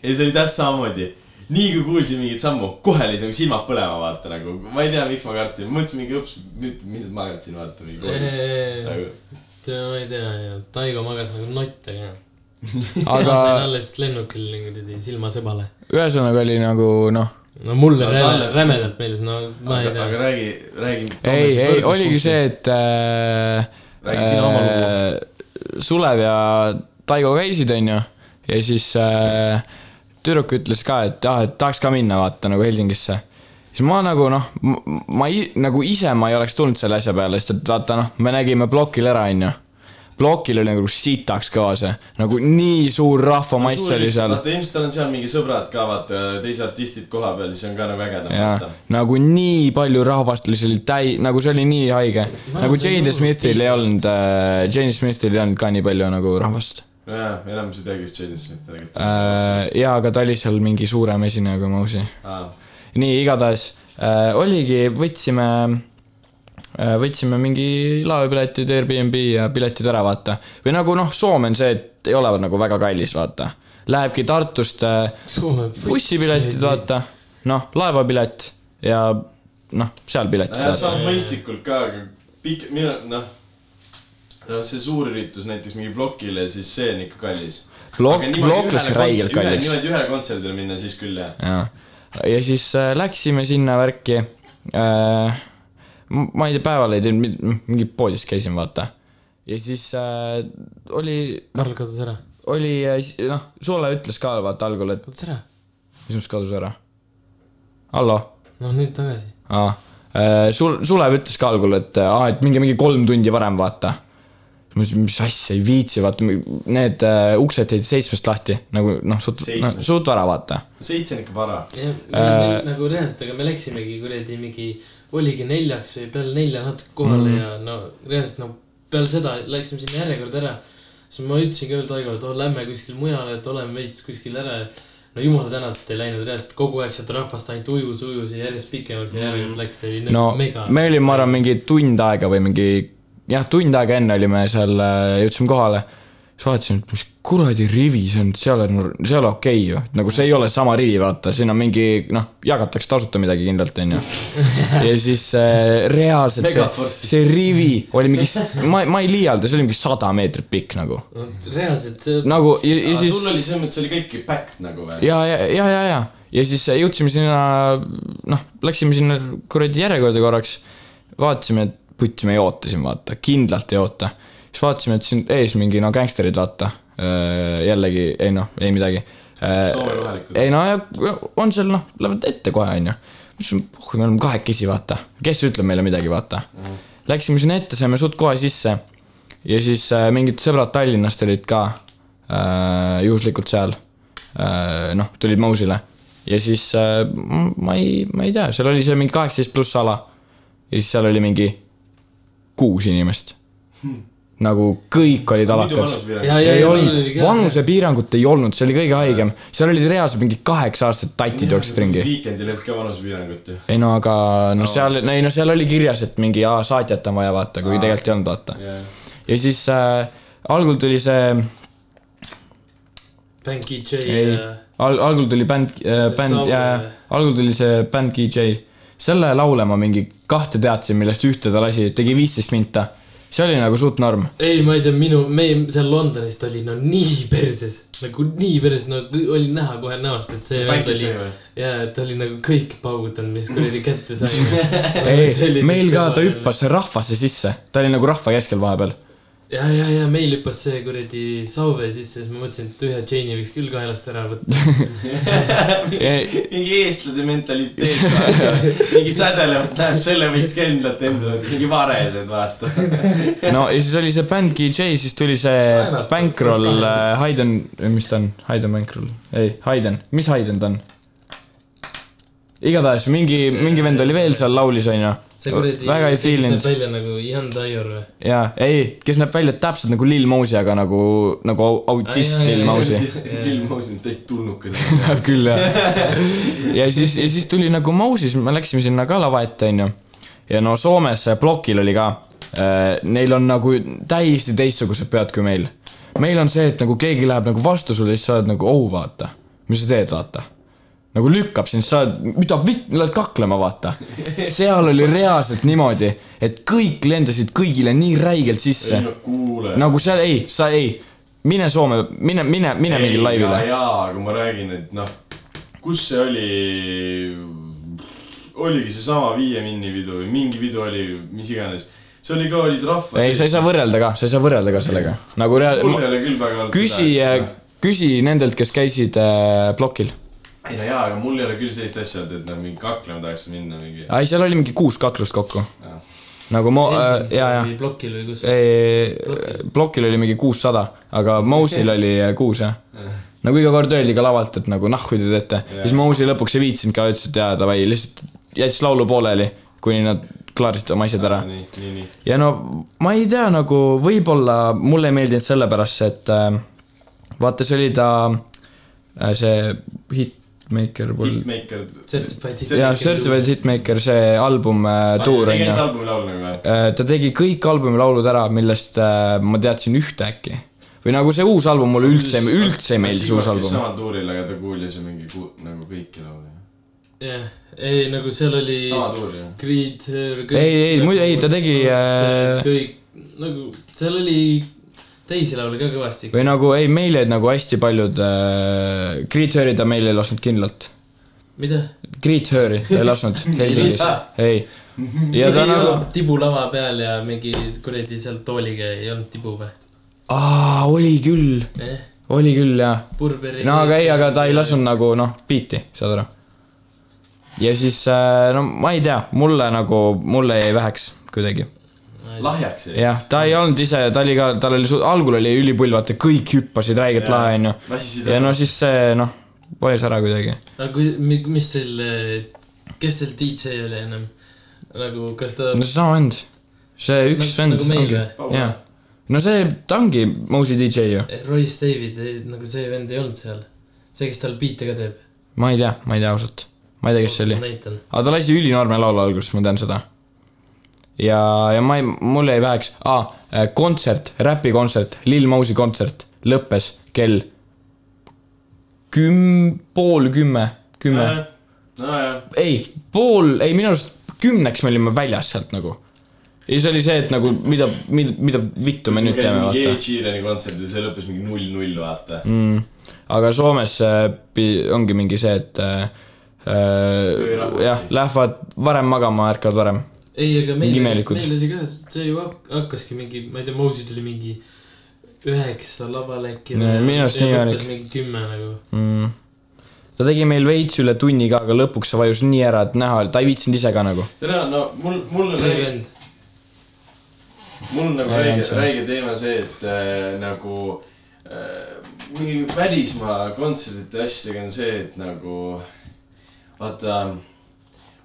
ja see oli täpselt samamoodi nii kui kuulsin mingit sammu , kohe olid nagu silmad põlema , vaata nagu , ma ei tea , miks ma kartsin , mõtlesin mingi õps , nüüd , mis ma kartsin , vaata mingi koolis . ma nagu , ei tea , Taigo magas nagu nott , aga . aga sain alles lennukil kuradi silmasebale . ühesõnaga oli nagu noh , no mulle Aga räme- talle- rämedalt meeldis , no ma ei aga , tea aga . räägi , räägi . ei , ei oligi see , et äh, . Räägi sina oma lugu . Sulev ja Taigo käisid , onju , ja siis äh, tüdruk ütles ka , et ah , et tahaks ka minna , vaata nagu Helsingisse . siis ma nagu noh , ma ei, nagu ise ma ei oleks tulnud selle asja peale , sest et vaata noh , me nägime plokil ära , onju . plokil oli nagu sitaks kõva see , nagu nii suur rahvamass oli seal vaata , ilmselt tal on seal mingi sõbrad ka , vaata , teised artistid koha peal , siis on ka nagu ägedam , ja vaata . nagu nii palju rahvast oli , see oli täi- , nagu see oli nii haige . nagu see Jane ei Smithil ei olnud olnud äh, , Jane Smithil ei olnud ka nii palju nagu rahvast jaa , enamus ei tea , kes Jaden Smith tegelikult äh, . ja , aga ta oli seal mingi suurem esineja kui Mousi . on . nii , igatahes äh, oligi , võtsime äh, , võtsime mingi laevapiletid , Airbnb ja piletid ära , vaata . või nagu noh , Soome on see , et ei ole nagu väga kallis , vaata . Lähebki Tartust äh, Soome bussipiletid , vaata , noh , laevapilet ja noh , seal piletid , nojah , vaata . saab mõistlikult ka , aga pikk , mina , noh . no see suurüritus näiteks mingi plokile , siis see on ikka kallis . Blok- , bloklas räigelt kallis . niimoodi ühele kontserdile minna , siis küll jah . ja , ja siis äh, läksime sinna värki äh, . ma ei tea , päeval ei teinud , mingi poodis käisin , vaata . ja siis äh, oli , noh , Karl kadus ära , oli äh, si- noh , Sule ütles ka vaata algul , et kadus ära , mis mõttes kadus ära . hallo noh nüüd tagasi . aa , sul , Sulev ütles ka algul , et äh, aa , et minge mingi kolm tundi varem , vaata . ma ütlesin , mis asja , ei viitsi , vaata , need äh, uksed jäid seitsmest lahti nagu noh , suht , noh , Seitsmest. suht vara , vaata . seitse on ikka vara . jah , me olime Äh, nagu reaalselt , aga me läksimegi kuradi mingi , oligi neljaks või peale nelja natuke kohale Mhm. mm. ja no reaalselt no peale seda läksime sinna järjekorda ära . siis ma ütlesin ka veel Taigole , et oh lähme kuskile mujale , et oleme veits kuskil ära . no jumal tänatud ei läinud reaalselt kogu aeg sealt rahvast ainult ujus , ujus ja järjest pikemaks ja järjekord läks , see oli Mhm. no no, mega . me olime , ma arvan , mingi tund aega või mingi jah , tund aega enne olime seal , jõudsime kohale , siis vaatasin , et mis kuradi rivi see on , seal on , seal on okei okay, ju , et nagu see ei ole sama rivi , vaata , siin on mingi noh , jagatakse tasuta midagi kindlalt , onju . ja siis äh, reaalselt see , Megaforce'i. see rivi oli mingi , ma , ma ei liialda , see oli mingi sada meetrit pikk nagu , no reaalselt see no. nagu ja, ja aga siis sul oli selles mõttes oli kõik ju packed nagu või ? ja , ja , ja , ja , ja , ja siis jõudsime sinna , noh , läksime sinna kuradi järjekorda korraks , vaatasime , et putsi , me ei oota siin , vaata , kindlalt ei oota . siis vaatasime , et siin ees mingi , no gängsterid , vaata , jällegi , ei noh , ei midagi . Äh, Soome kohalikud. ei no ja on seal noh , lähevad ette kohe , onju . mõtlesime , oh , me oleme kahekesi , vaata , kes ütleb meile midagi , vaata mm. . Läksime sinna ette , saime suht kohe sisse ja siis äh, mingid sõbrad Tallinnast olid ka äh, juhuslikult seal äh, , noh , tulid Mausile . ja siis äh, m- ma ei , ma ei tea , seal oli seal mingi kaheksateist pluss ala ja siis seal oli mingi kuus inimest . nagu kõik olid muidu alakas vanusepiirang . ja , ja , ei ja olnud meil oli , ka . vanusepiirangut ei olnud , see oli kõige haigem , seal olid reaalselt mingid kaheksa aastased tatid jooksid ringi . viikendil ei olnud ka vanusepiirangut ju . ei no aga no seal , ei no seal oli kirjas , et mingi aa, saatjat on vaja vaata , kuigi tegelikult ei olnud vaata . ja siis äh, algul tuli see , Banky J ei ja , al- , algul tuli bänd äh, , See bänd Saul- ja algul tuli see bänd GJ . selle laule ma mingi kahte teadsin , millest ühte ta lasi , tegi viisteist minta . see oli nagu suht norm . ei , ma ei tea , minu , meie seal Londonis ta oli no nii perses , nagu nii perses , no kõ- oli näha kohe näost , et see vend Banky oli J või? ja ta oli nagu kõik paugutanud , mis kuradi kätte sai . Nagu ei , meil ka , ta . hüppas rahvasse sisse , ta oli nagu rahva keskel vahepeal . ja , ja , ja meil hüppas see kuradi Sauve sisse , siis ma mõtlesin , et ühe Jane'i võiks küll kaelast ära võtta . mingi eestlase mentaliteet , mingi sädelevat läheb , selle võiks kindlalt endale , mingi varesed vaata . no ja siis oli see bänd GJ , siis tuli see Bankroll , Haydn , mis ta on , Haydn Bankroll , ei , Haydn , mis Haydn ta on ? igatahes mingi , mingi vend oli veel seal laulis , onju . see kuradi . väga ei feelinud . välja nagu Ian Dyer või ? jaa , ei , kes näeb välja täpselt nagu Lil Mosey , aga nagu , nagu au- autist Ai, ai, Lil ai, Mosey . Gil Mosin täitsa tulnukas . küll jah . ja siis , ja siis tuli nagu Mosey , siis me läksime sinna ka lava ette , onju . ja no Soomes äh, plokil oli ka , neil on nagu täiesti teistsugused pead kui meil . meil on see , et nagu keegi läheb nagu vastu sulle , siis sa oled nagu oh vaata , mis sa teed , vaata nagu lükkab sind , sa oled , mida vitt , lähed kaklema , vaata . seal oli reaalselt niimoodi , et kõik lendasid kõigile nii räigelt sisse ei . no kuule . nagu seal ei , sa ei , mine Soome , mine , mine , mine mingile laivile jaa , jaa , aga ma räägin , et noh , kus see oli , oligi seesama Viie Minni pidu või mingi pidu oli , mis iganes . see oli ka , olid rahva ei , sa ei saa . võrrelda ka , sa ei saa võrrelda ka sellega , nagu mul ei rea- , ole küll väga olnud küsi äh, seda, et- , küsi nendelt , kes käisid äh, plokil . ei no jaa , aga mul ei ole küll sellist asja , et , et noh , mingi kaklema tahaks minna mingi . ei , seal oli mingi kuus kaklust kokku . nagu mo- , ja , ja , plokil või kus ? plokil oli mingi kuussada , aga Mosil oli äh, kuus , jah . nagu iga kord öeldi ka lavalt , et nagu nahku te teete , siis Mosi lõpuks ei viitsinud ka , ütles , et jaa , davai , lihtsalt jättis laulu pooleli , kuni nad klaarisid oma asjad ära nii , nii , nii . ja no ma ei tea , nagu võib-olla mulle ei meeldinud sellepärast , et äh, vaata , see oli ta äh, see hitmaker mul Hitmaker . Certified Hit- ja Certified Hitmaker , see album äh, tuur onju onju . Äh, tegelikult . albumi laul nagu või ? ta tegi kõik albumi laulud ära , millest äh, ma teadsin ühte äkki või nagu see uus album mulle üldse , üldse ei meeldis uus album . samal tuuril , aga ta kuulis ju mingi ku- , nagu kõiki laule . jah , ei nagu seal oli . sama tuur ju . Creed , kõik . Ei, ei, muidu- ei, ta tegi, äh, kõik nagu seal oli teisi laule ka kõvasti . või nagu ei , meil jäid nagu hästi paljud äh, , Creed Hurry ta meile ei lasknud kindlalt . mida ? Creed Hurry ta ei lasknud Helsingis , ei ja ta nagu , tibu lava peal ja mingi kuradi seal tooliga ei olnud tibu või aa , oli küll , eh, ? oli küll jah . Burberry . no aga ei , aga ta ei lasknud nagu noh , biiti , saad aru . ja siis , no ma ei tea , mulle nagu , mulle jäi väheks kuidagi . lahjaks jäi . jah , ta ei olnud ise , ta oli ka , tal oli , algul oli ülipull , vaata kõik hüppasid , räigelt lahe onju . lassisid ja ära . no siis see noh , poes ära kuidagi . aga kui , mis teil , kes teil DJ oli ennem ? nagu , kas ta no seesama vend , see Nagu- üks vend nagu meil ongi või? , jaa . no see , ta ongi Mosey DJ ju . eh, Royce David , nagu see vend ei olnud seal ? see , kes tal biite ka teeb ? ma ei tea , ma ei tea ausalt . ma ei tea , kes see oli . näitan . aga ta lasi ülinoorme laulu alguses , ma tean seda . ja , ja ma ei , mul jäi väheks , aa , kontsert , räpikontsert , Lil Mosey kontsert lõppes kell küm- , pool kümme , kümme , Äh, nojah , ei , pool , ei minu arust kümneks me olime väljas sealt nagu . ja siis oli see , et nagu mida , mida , mida vittu me nüüd teeme , mingi vaata Ed . Sheerani kontsert ja see lõppes mingi null-null , vaata . mm. . aga Soomes äh, pi- ongi mingi see , et äh, rahu. äh, jah , lähevad varem magama , ärkavad varem . ei , aga meil , Mingi meil imelikud. oli ka , see ju hak- hakkaski mingi , ma ei tea , Mosey tuli mingi üheksa laval äkki . Nee, minu arust nii imelik. mingi kümme nagu . Mm. ta tegi meil veits üle tunni ka , aga lõpuks see vajus nii ära , et näha , ta ei viitsinud ise ka nagu . täna , no mul , mul on see räige , vend . mul on nagu Ei, räige on , see. räige teema see , et äh, nagu äh, mingi välismaa kontserdite asjadega on see , et nagu vaata ,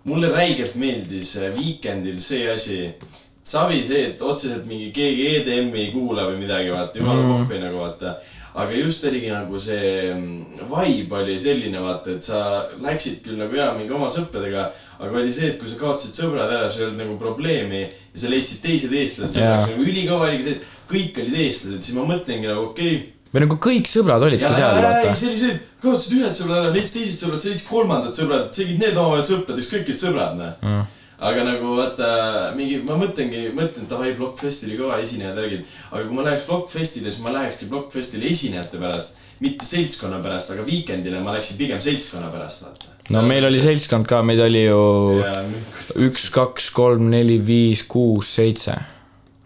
mulle räigelt meeldis äh, Weekendil see asi , savi see , et otseselt mingi keegi EDM-i ei kuula või midagi , vaata , jumala Mm. kohvi nagu vaata aga just oligi nagu see mm, vibe oli selline , vaata , et sa läksid küll nagu jaa , mingi oma sõpradega , aga oli see , et kui sa kaotasid sõbrad ära , sul ei olnud nagu probleemi ja sa leidsid teised eestlased , see Jaa. oleks nagu ülikõva oligi see , et kõik olid eestlased , siis ma mõtlengi nagu okei okay, . või nagu kõik sõbrad olidki ja , ja , seal , ja , ja vaata . see oli see , et kaotasid ühed sõbrad ära , leidsid teised sõbrad , sa leidsid kolmandad sõbrad , tegid need omavahel sõpradeks , kõik olid sõbrad , noh aga nagu vaata mingi , ma mõtlengi , mõtlen davai , Blockfest oli kõva esinejad , värgid , aga kui ma läheks Blockfestile , siis ma lähekski Blockfestile esinejate pärast , mitte seltskonna pärast , aga Weekendile ma läksin pigem seltskonna pärast , vaata . no meil oli seltskond ka , meid oli ju see . üks , kaks , kolm , neli , viis , kuus , seitse .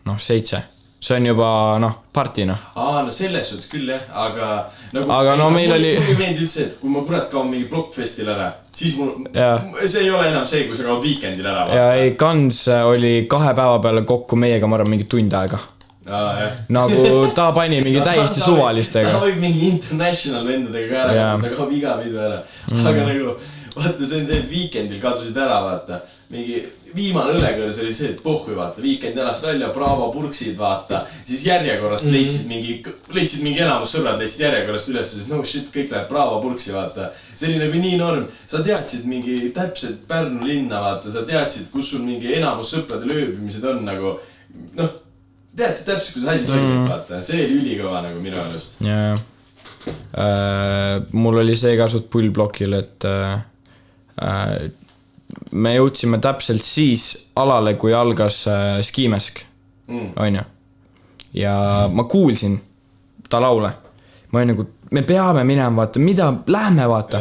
noh , seitse . see on juba noh , party noh . aa , no selles suhtes küll jah , aga nagu, Aga no ei, meil mulle- oli- mulle ei meeldi üldse , et kui ma kurat kaon mingi Blockfestile ära , siis mul , Jah. see ei ole enam see , kui sa kaod Weekendile ära . ja ei , Kans oli kahe päeva peale kokku meiega , ma arvan , mingi tund aega . aa jah . nagu ta pani mingi täiesti ta suvalistega . võib mingi international vendadega ka ära Jaa. kaotada , ta kaob iga pidu ära . aga nagu vaata , see on see , et Weekendil kadusid ära , vaata . mingi viimane õlekõrs oli see , et pohhu , vaata , Weekend elas välja , Bravo purksid , vaata . siis järjekorrast mm -hmm. leidsid mingi , leidsid mingi enamus sõbrad leidsid järjekorrast üles , siis no shit , kõik läheb Bravo purksi , vaata . see oli nagu nii norm , sa teadsid mingi täpselt Pärnu linna , vaata , sa teadsid , kus sul mingi enamus sõpradel ööbimised on nagu noh tead , sa täpselt , kuidas asi toimib , vaata , see oli ülikõva nagu minu arust . jajah . Äh, mul oli see ka suht pull plokil , et äh, äh, me jõudsime täpselt siis alale , kui algas äh, skiimesk , Mm. onju . ja ma kuulsin ta laule . ma olin nagu , me peame minema , vaata , mida , lähme vaata .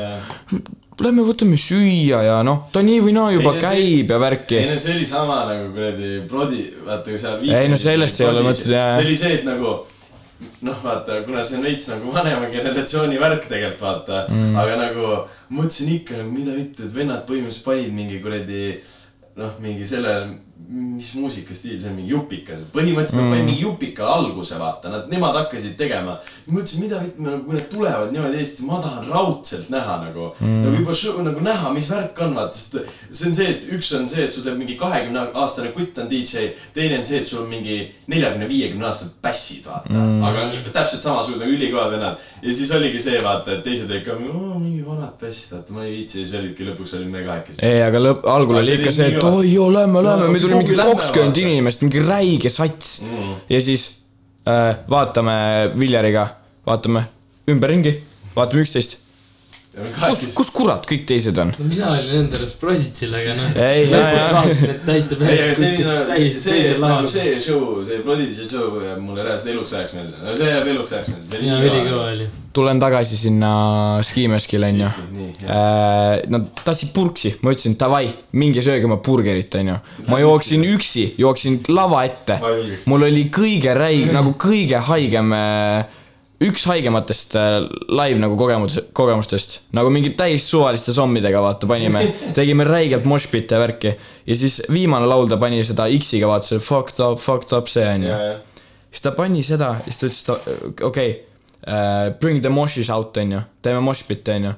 Lähme võtame süüa ja noh , ta nii või naa juba käib ja värki ei . no see oli sama nagu kuradi prodi , vaata seal . Ei, no sellest ei ole mõtet, jaa, jaa. see oli see , et nagu noh , vaata , kuna see on veits nagu vanema generatsiooni värk tegelikult vaata mm. , aga nagu mõtlesin ikka , mida vittu , et vennad põhimõtteliselt panid mingi kuradi noh , mingi selle , mis muusikastiil see on , mingi jupikas , põhimõtteliselt mm. nad panid mingi jupika alguse , vaata , nad , nemad hakkasid tegema . mõtlesin , mida vittu , nagu kui nad tulevad niimoodi Eestisse , ma tahan raudselt näha nagu mm. , nagu juba show, nagu näha , mis värk on , vaata , sest see on see , et üks on see , et sul teeb mingi kahekümne aastane kutt on DJ , teine on see , et sul on mingi neljakümne , viiekümne aastased pässid , vaata mm. . aga täpselt samasugune , nagu ülikõvad vennad . ja siis oligi see , vaata , et teised olid ka "Oo, mingi vanad pässid , vaata , ma ei viitsi , siis olidki lõpuks olid me kahekesi . ei , aga lõpp , algul Aga oli see ikka oli see , nii et kõva. oi joo , lähme , No, lähme , meid oli mingi kuhugi lähme, kakskümmend vaata. inimest , mingi räige sats Mm. . ja siis äh, vaatame Viljariga , vaatame ümberringi , vaatame üksteist . kus , kus kurat kõik teised on ? no mina olin enda arust proditsil , aga noh . Ei, jaa, jaa. täitsa ei , aga päris see , see , täiesti see teisel , laval . see show , see Prodigy show jääb mulle reaalselt eluks ajaks meelde . no see jääb eluks ajaks meelde , see jaa , oli nii ülikõva oli . tulen tagasi sinna Skimeskile , onju . Äh, Nad tahtsid purksi , ma ütlesin davai , minge sööge oma burgerit , onju . ma jooksin üksi , jooksin lava ette Ma ei julgeks. . mul oli kõige räig- , nagu kõige haigem , üks haigematest äh, live nagu kogemus , kogemustest . nagu mingi täis suvaliste zombidega , vaata , panime , tegime räigelt moshpite värki . ja siis viimane laulda pani seda X-iga , vaata , see fucked up , fucked up see , onju siis ta pani seda , siis ta ütles , ta , okei okay, , bring the moshes out , onju , teeme moshpitti , onju .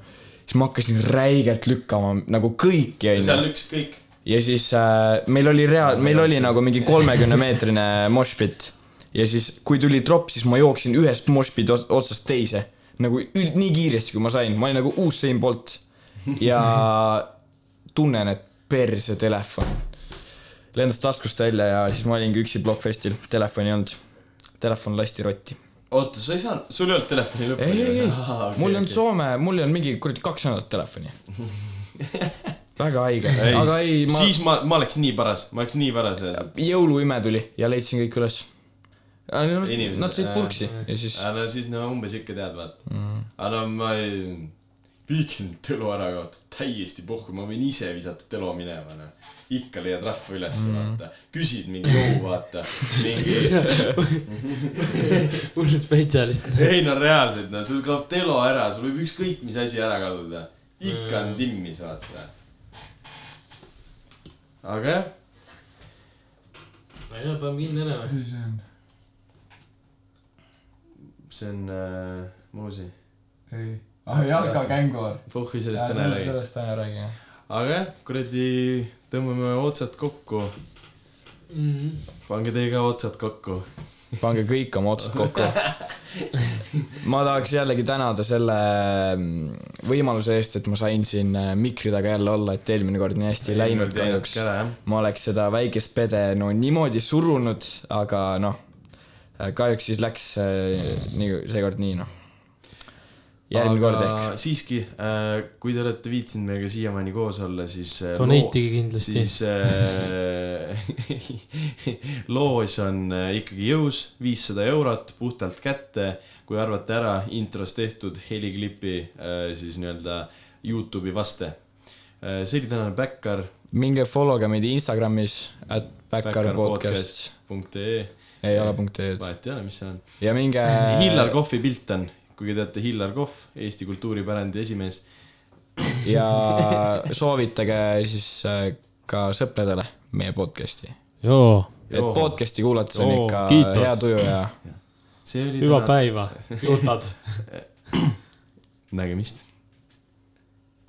siis ma hakkasin räigelt lükkama nagu kõiki , seal onju . üks kõik . ja siis äh, meil oli rea- , meil oli nagu mingi kolmekümnemeetrine moshpit . ja siis , kui tuli drop , siis ma jooksin ühest moshpiti otsast teise . nagu üld- , nii kiiresti , kui ma sain , ma olin nagu uus Usain Bolt . ja tunnen , et perse telefon lendas taskust välja ja siis ma olingi üksi Blockfestil , telefoni ei olnud . telefon lasti rotti . oota , sa ei saanud , sul ei olnud telefoni lõppu ? ei , ei , ei , mul on . Soome , mul ei olnud mingi kuradi kaks nädalat telefoni . väga haige , aga ei , ma siis... siis ma , ma oleks nii paras , ma oleks nii paras reaalselt . jõuluime tuli ja leidsin kõik üles . Inimesed, Nad sõid äh, purksi ja siis , Mm. aga no siis no umbes ikka tead , vaata . aga no ma ei , viikin Tõlu ära kaotada , täiesti puhku , ma võin ise visata Tõlu minema , noh . ikka leiad rahva ülesse , Mm. vaata . küsid mingi jõu , vaata . mingi hull spetsialist . ei no reaalselt , no sul kaob telo ära , sul võib ükskõik mis asi ära kaduda . ikka on timmis , vaata . aga jah , ma ei tea , paneme kinni ära või ? see on äh, Moosi . ei , Ah, Jalka Kängur . Puhhi sellest täna ei räägi . täna räägime . aga jah , kuradi , tõmbame otsad kokku . Mhm. Mm-hmm. pange teie ka otsad kokku . pange kõik oma otsad kokku . ma tahaks jällegi tänada selle mm, võimaluse eest , et ma sain siin äh, mikri taga jälle olla , et eelmine kord nii hästi ei läinud kahjuks . ma oleks seda väikest pede no niimoodi surunud , aga noh , kahjuks siis läks äh, nii , seekord nii noh . järgmine kord ehk . siiski äh, , kui te olete viitsinud meiega siiamaani koos olla , siis äh, Donate'ige kindlasti . siis äh, loos on äh, ikkagi jõus , viissada eurot puhtalt kätte . kui arvate ära intros tehtud heliklipi äh, , siis nii-öelda Youtube'i vaste äh, . see oli tänane Backyard . minge follow ge meid Instagramis , at backyardpodcast backyardpodcast.ee , ei ole punkt ee-d vahet ei ole , mis see on . ja minge . Äh, Hillar Kohvi pilt on , kui teate Hillar Kohv , Eesti kultuuripärandi esimees . ja soovitage siis äh, ka sõpradele meie podcast'i . joo , et Joo. podcast'i kuulates on Oo, ikka kiitos. hea tuju ja see oli hüva täna , päeva , jutad . nägemist .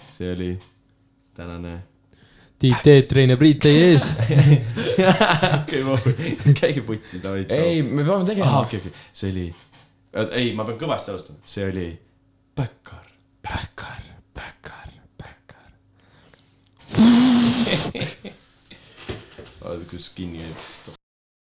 see oli tänane . Tiit Teet , Reine Priit teie ees . käige putsi , davai , tšau . ei , me peame ahah , tegema . okei , okei , see oli , ei , ma pean kõvasti alustama , see oli Backyard , Backyard , Backyard , Backyard . vaata , kuidas kinni käib , siis tuleb .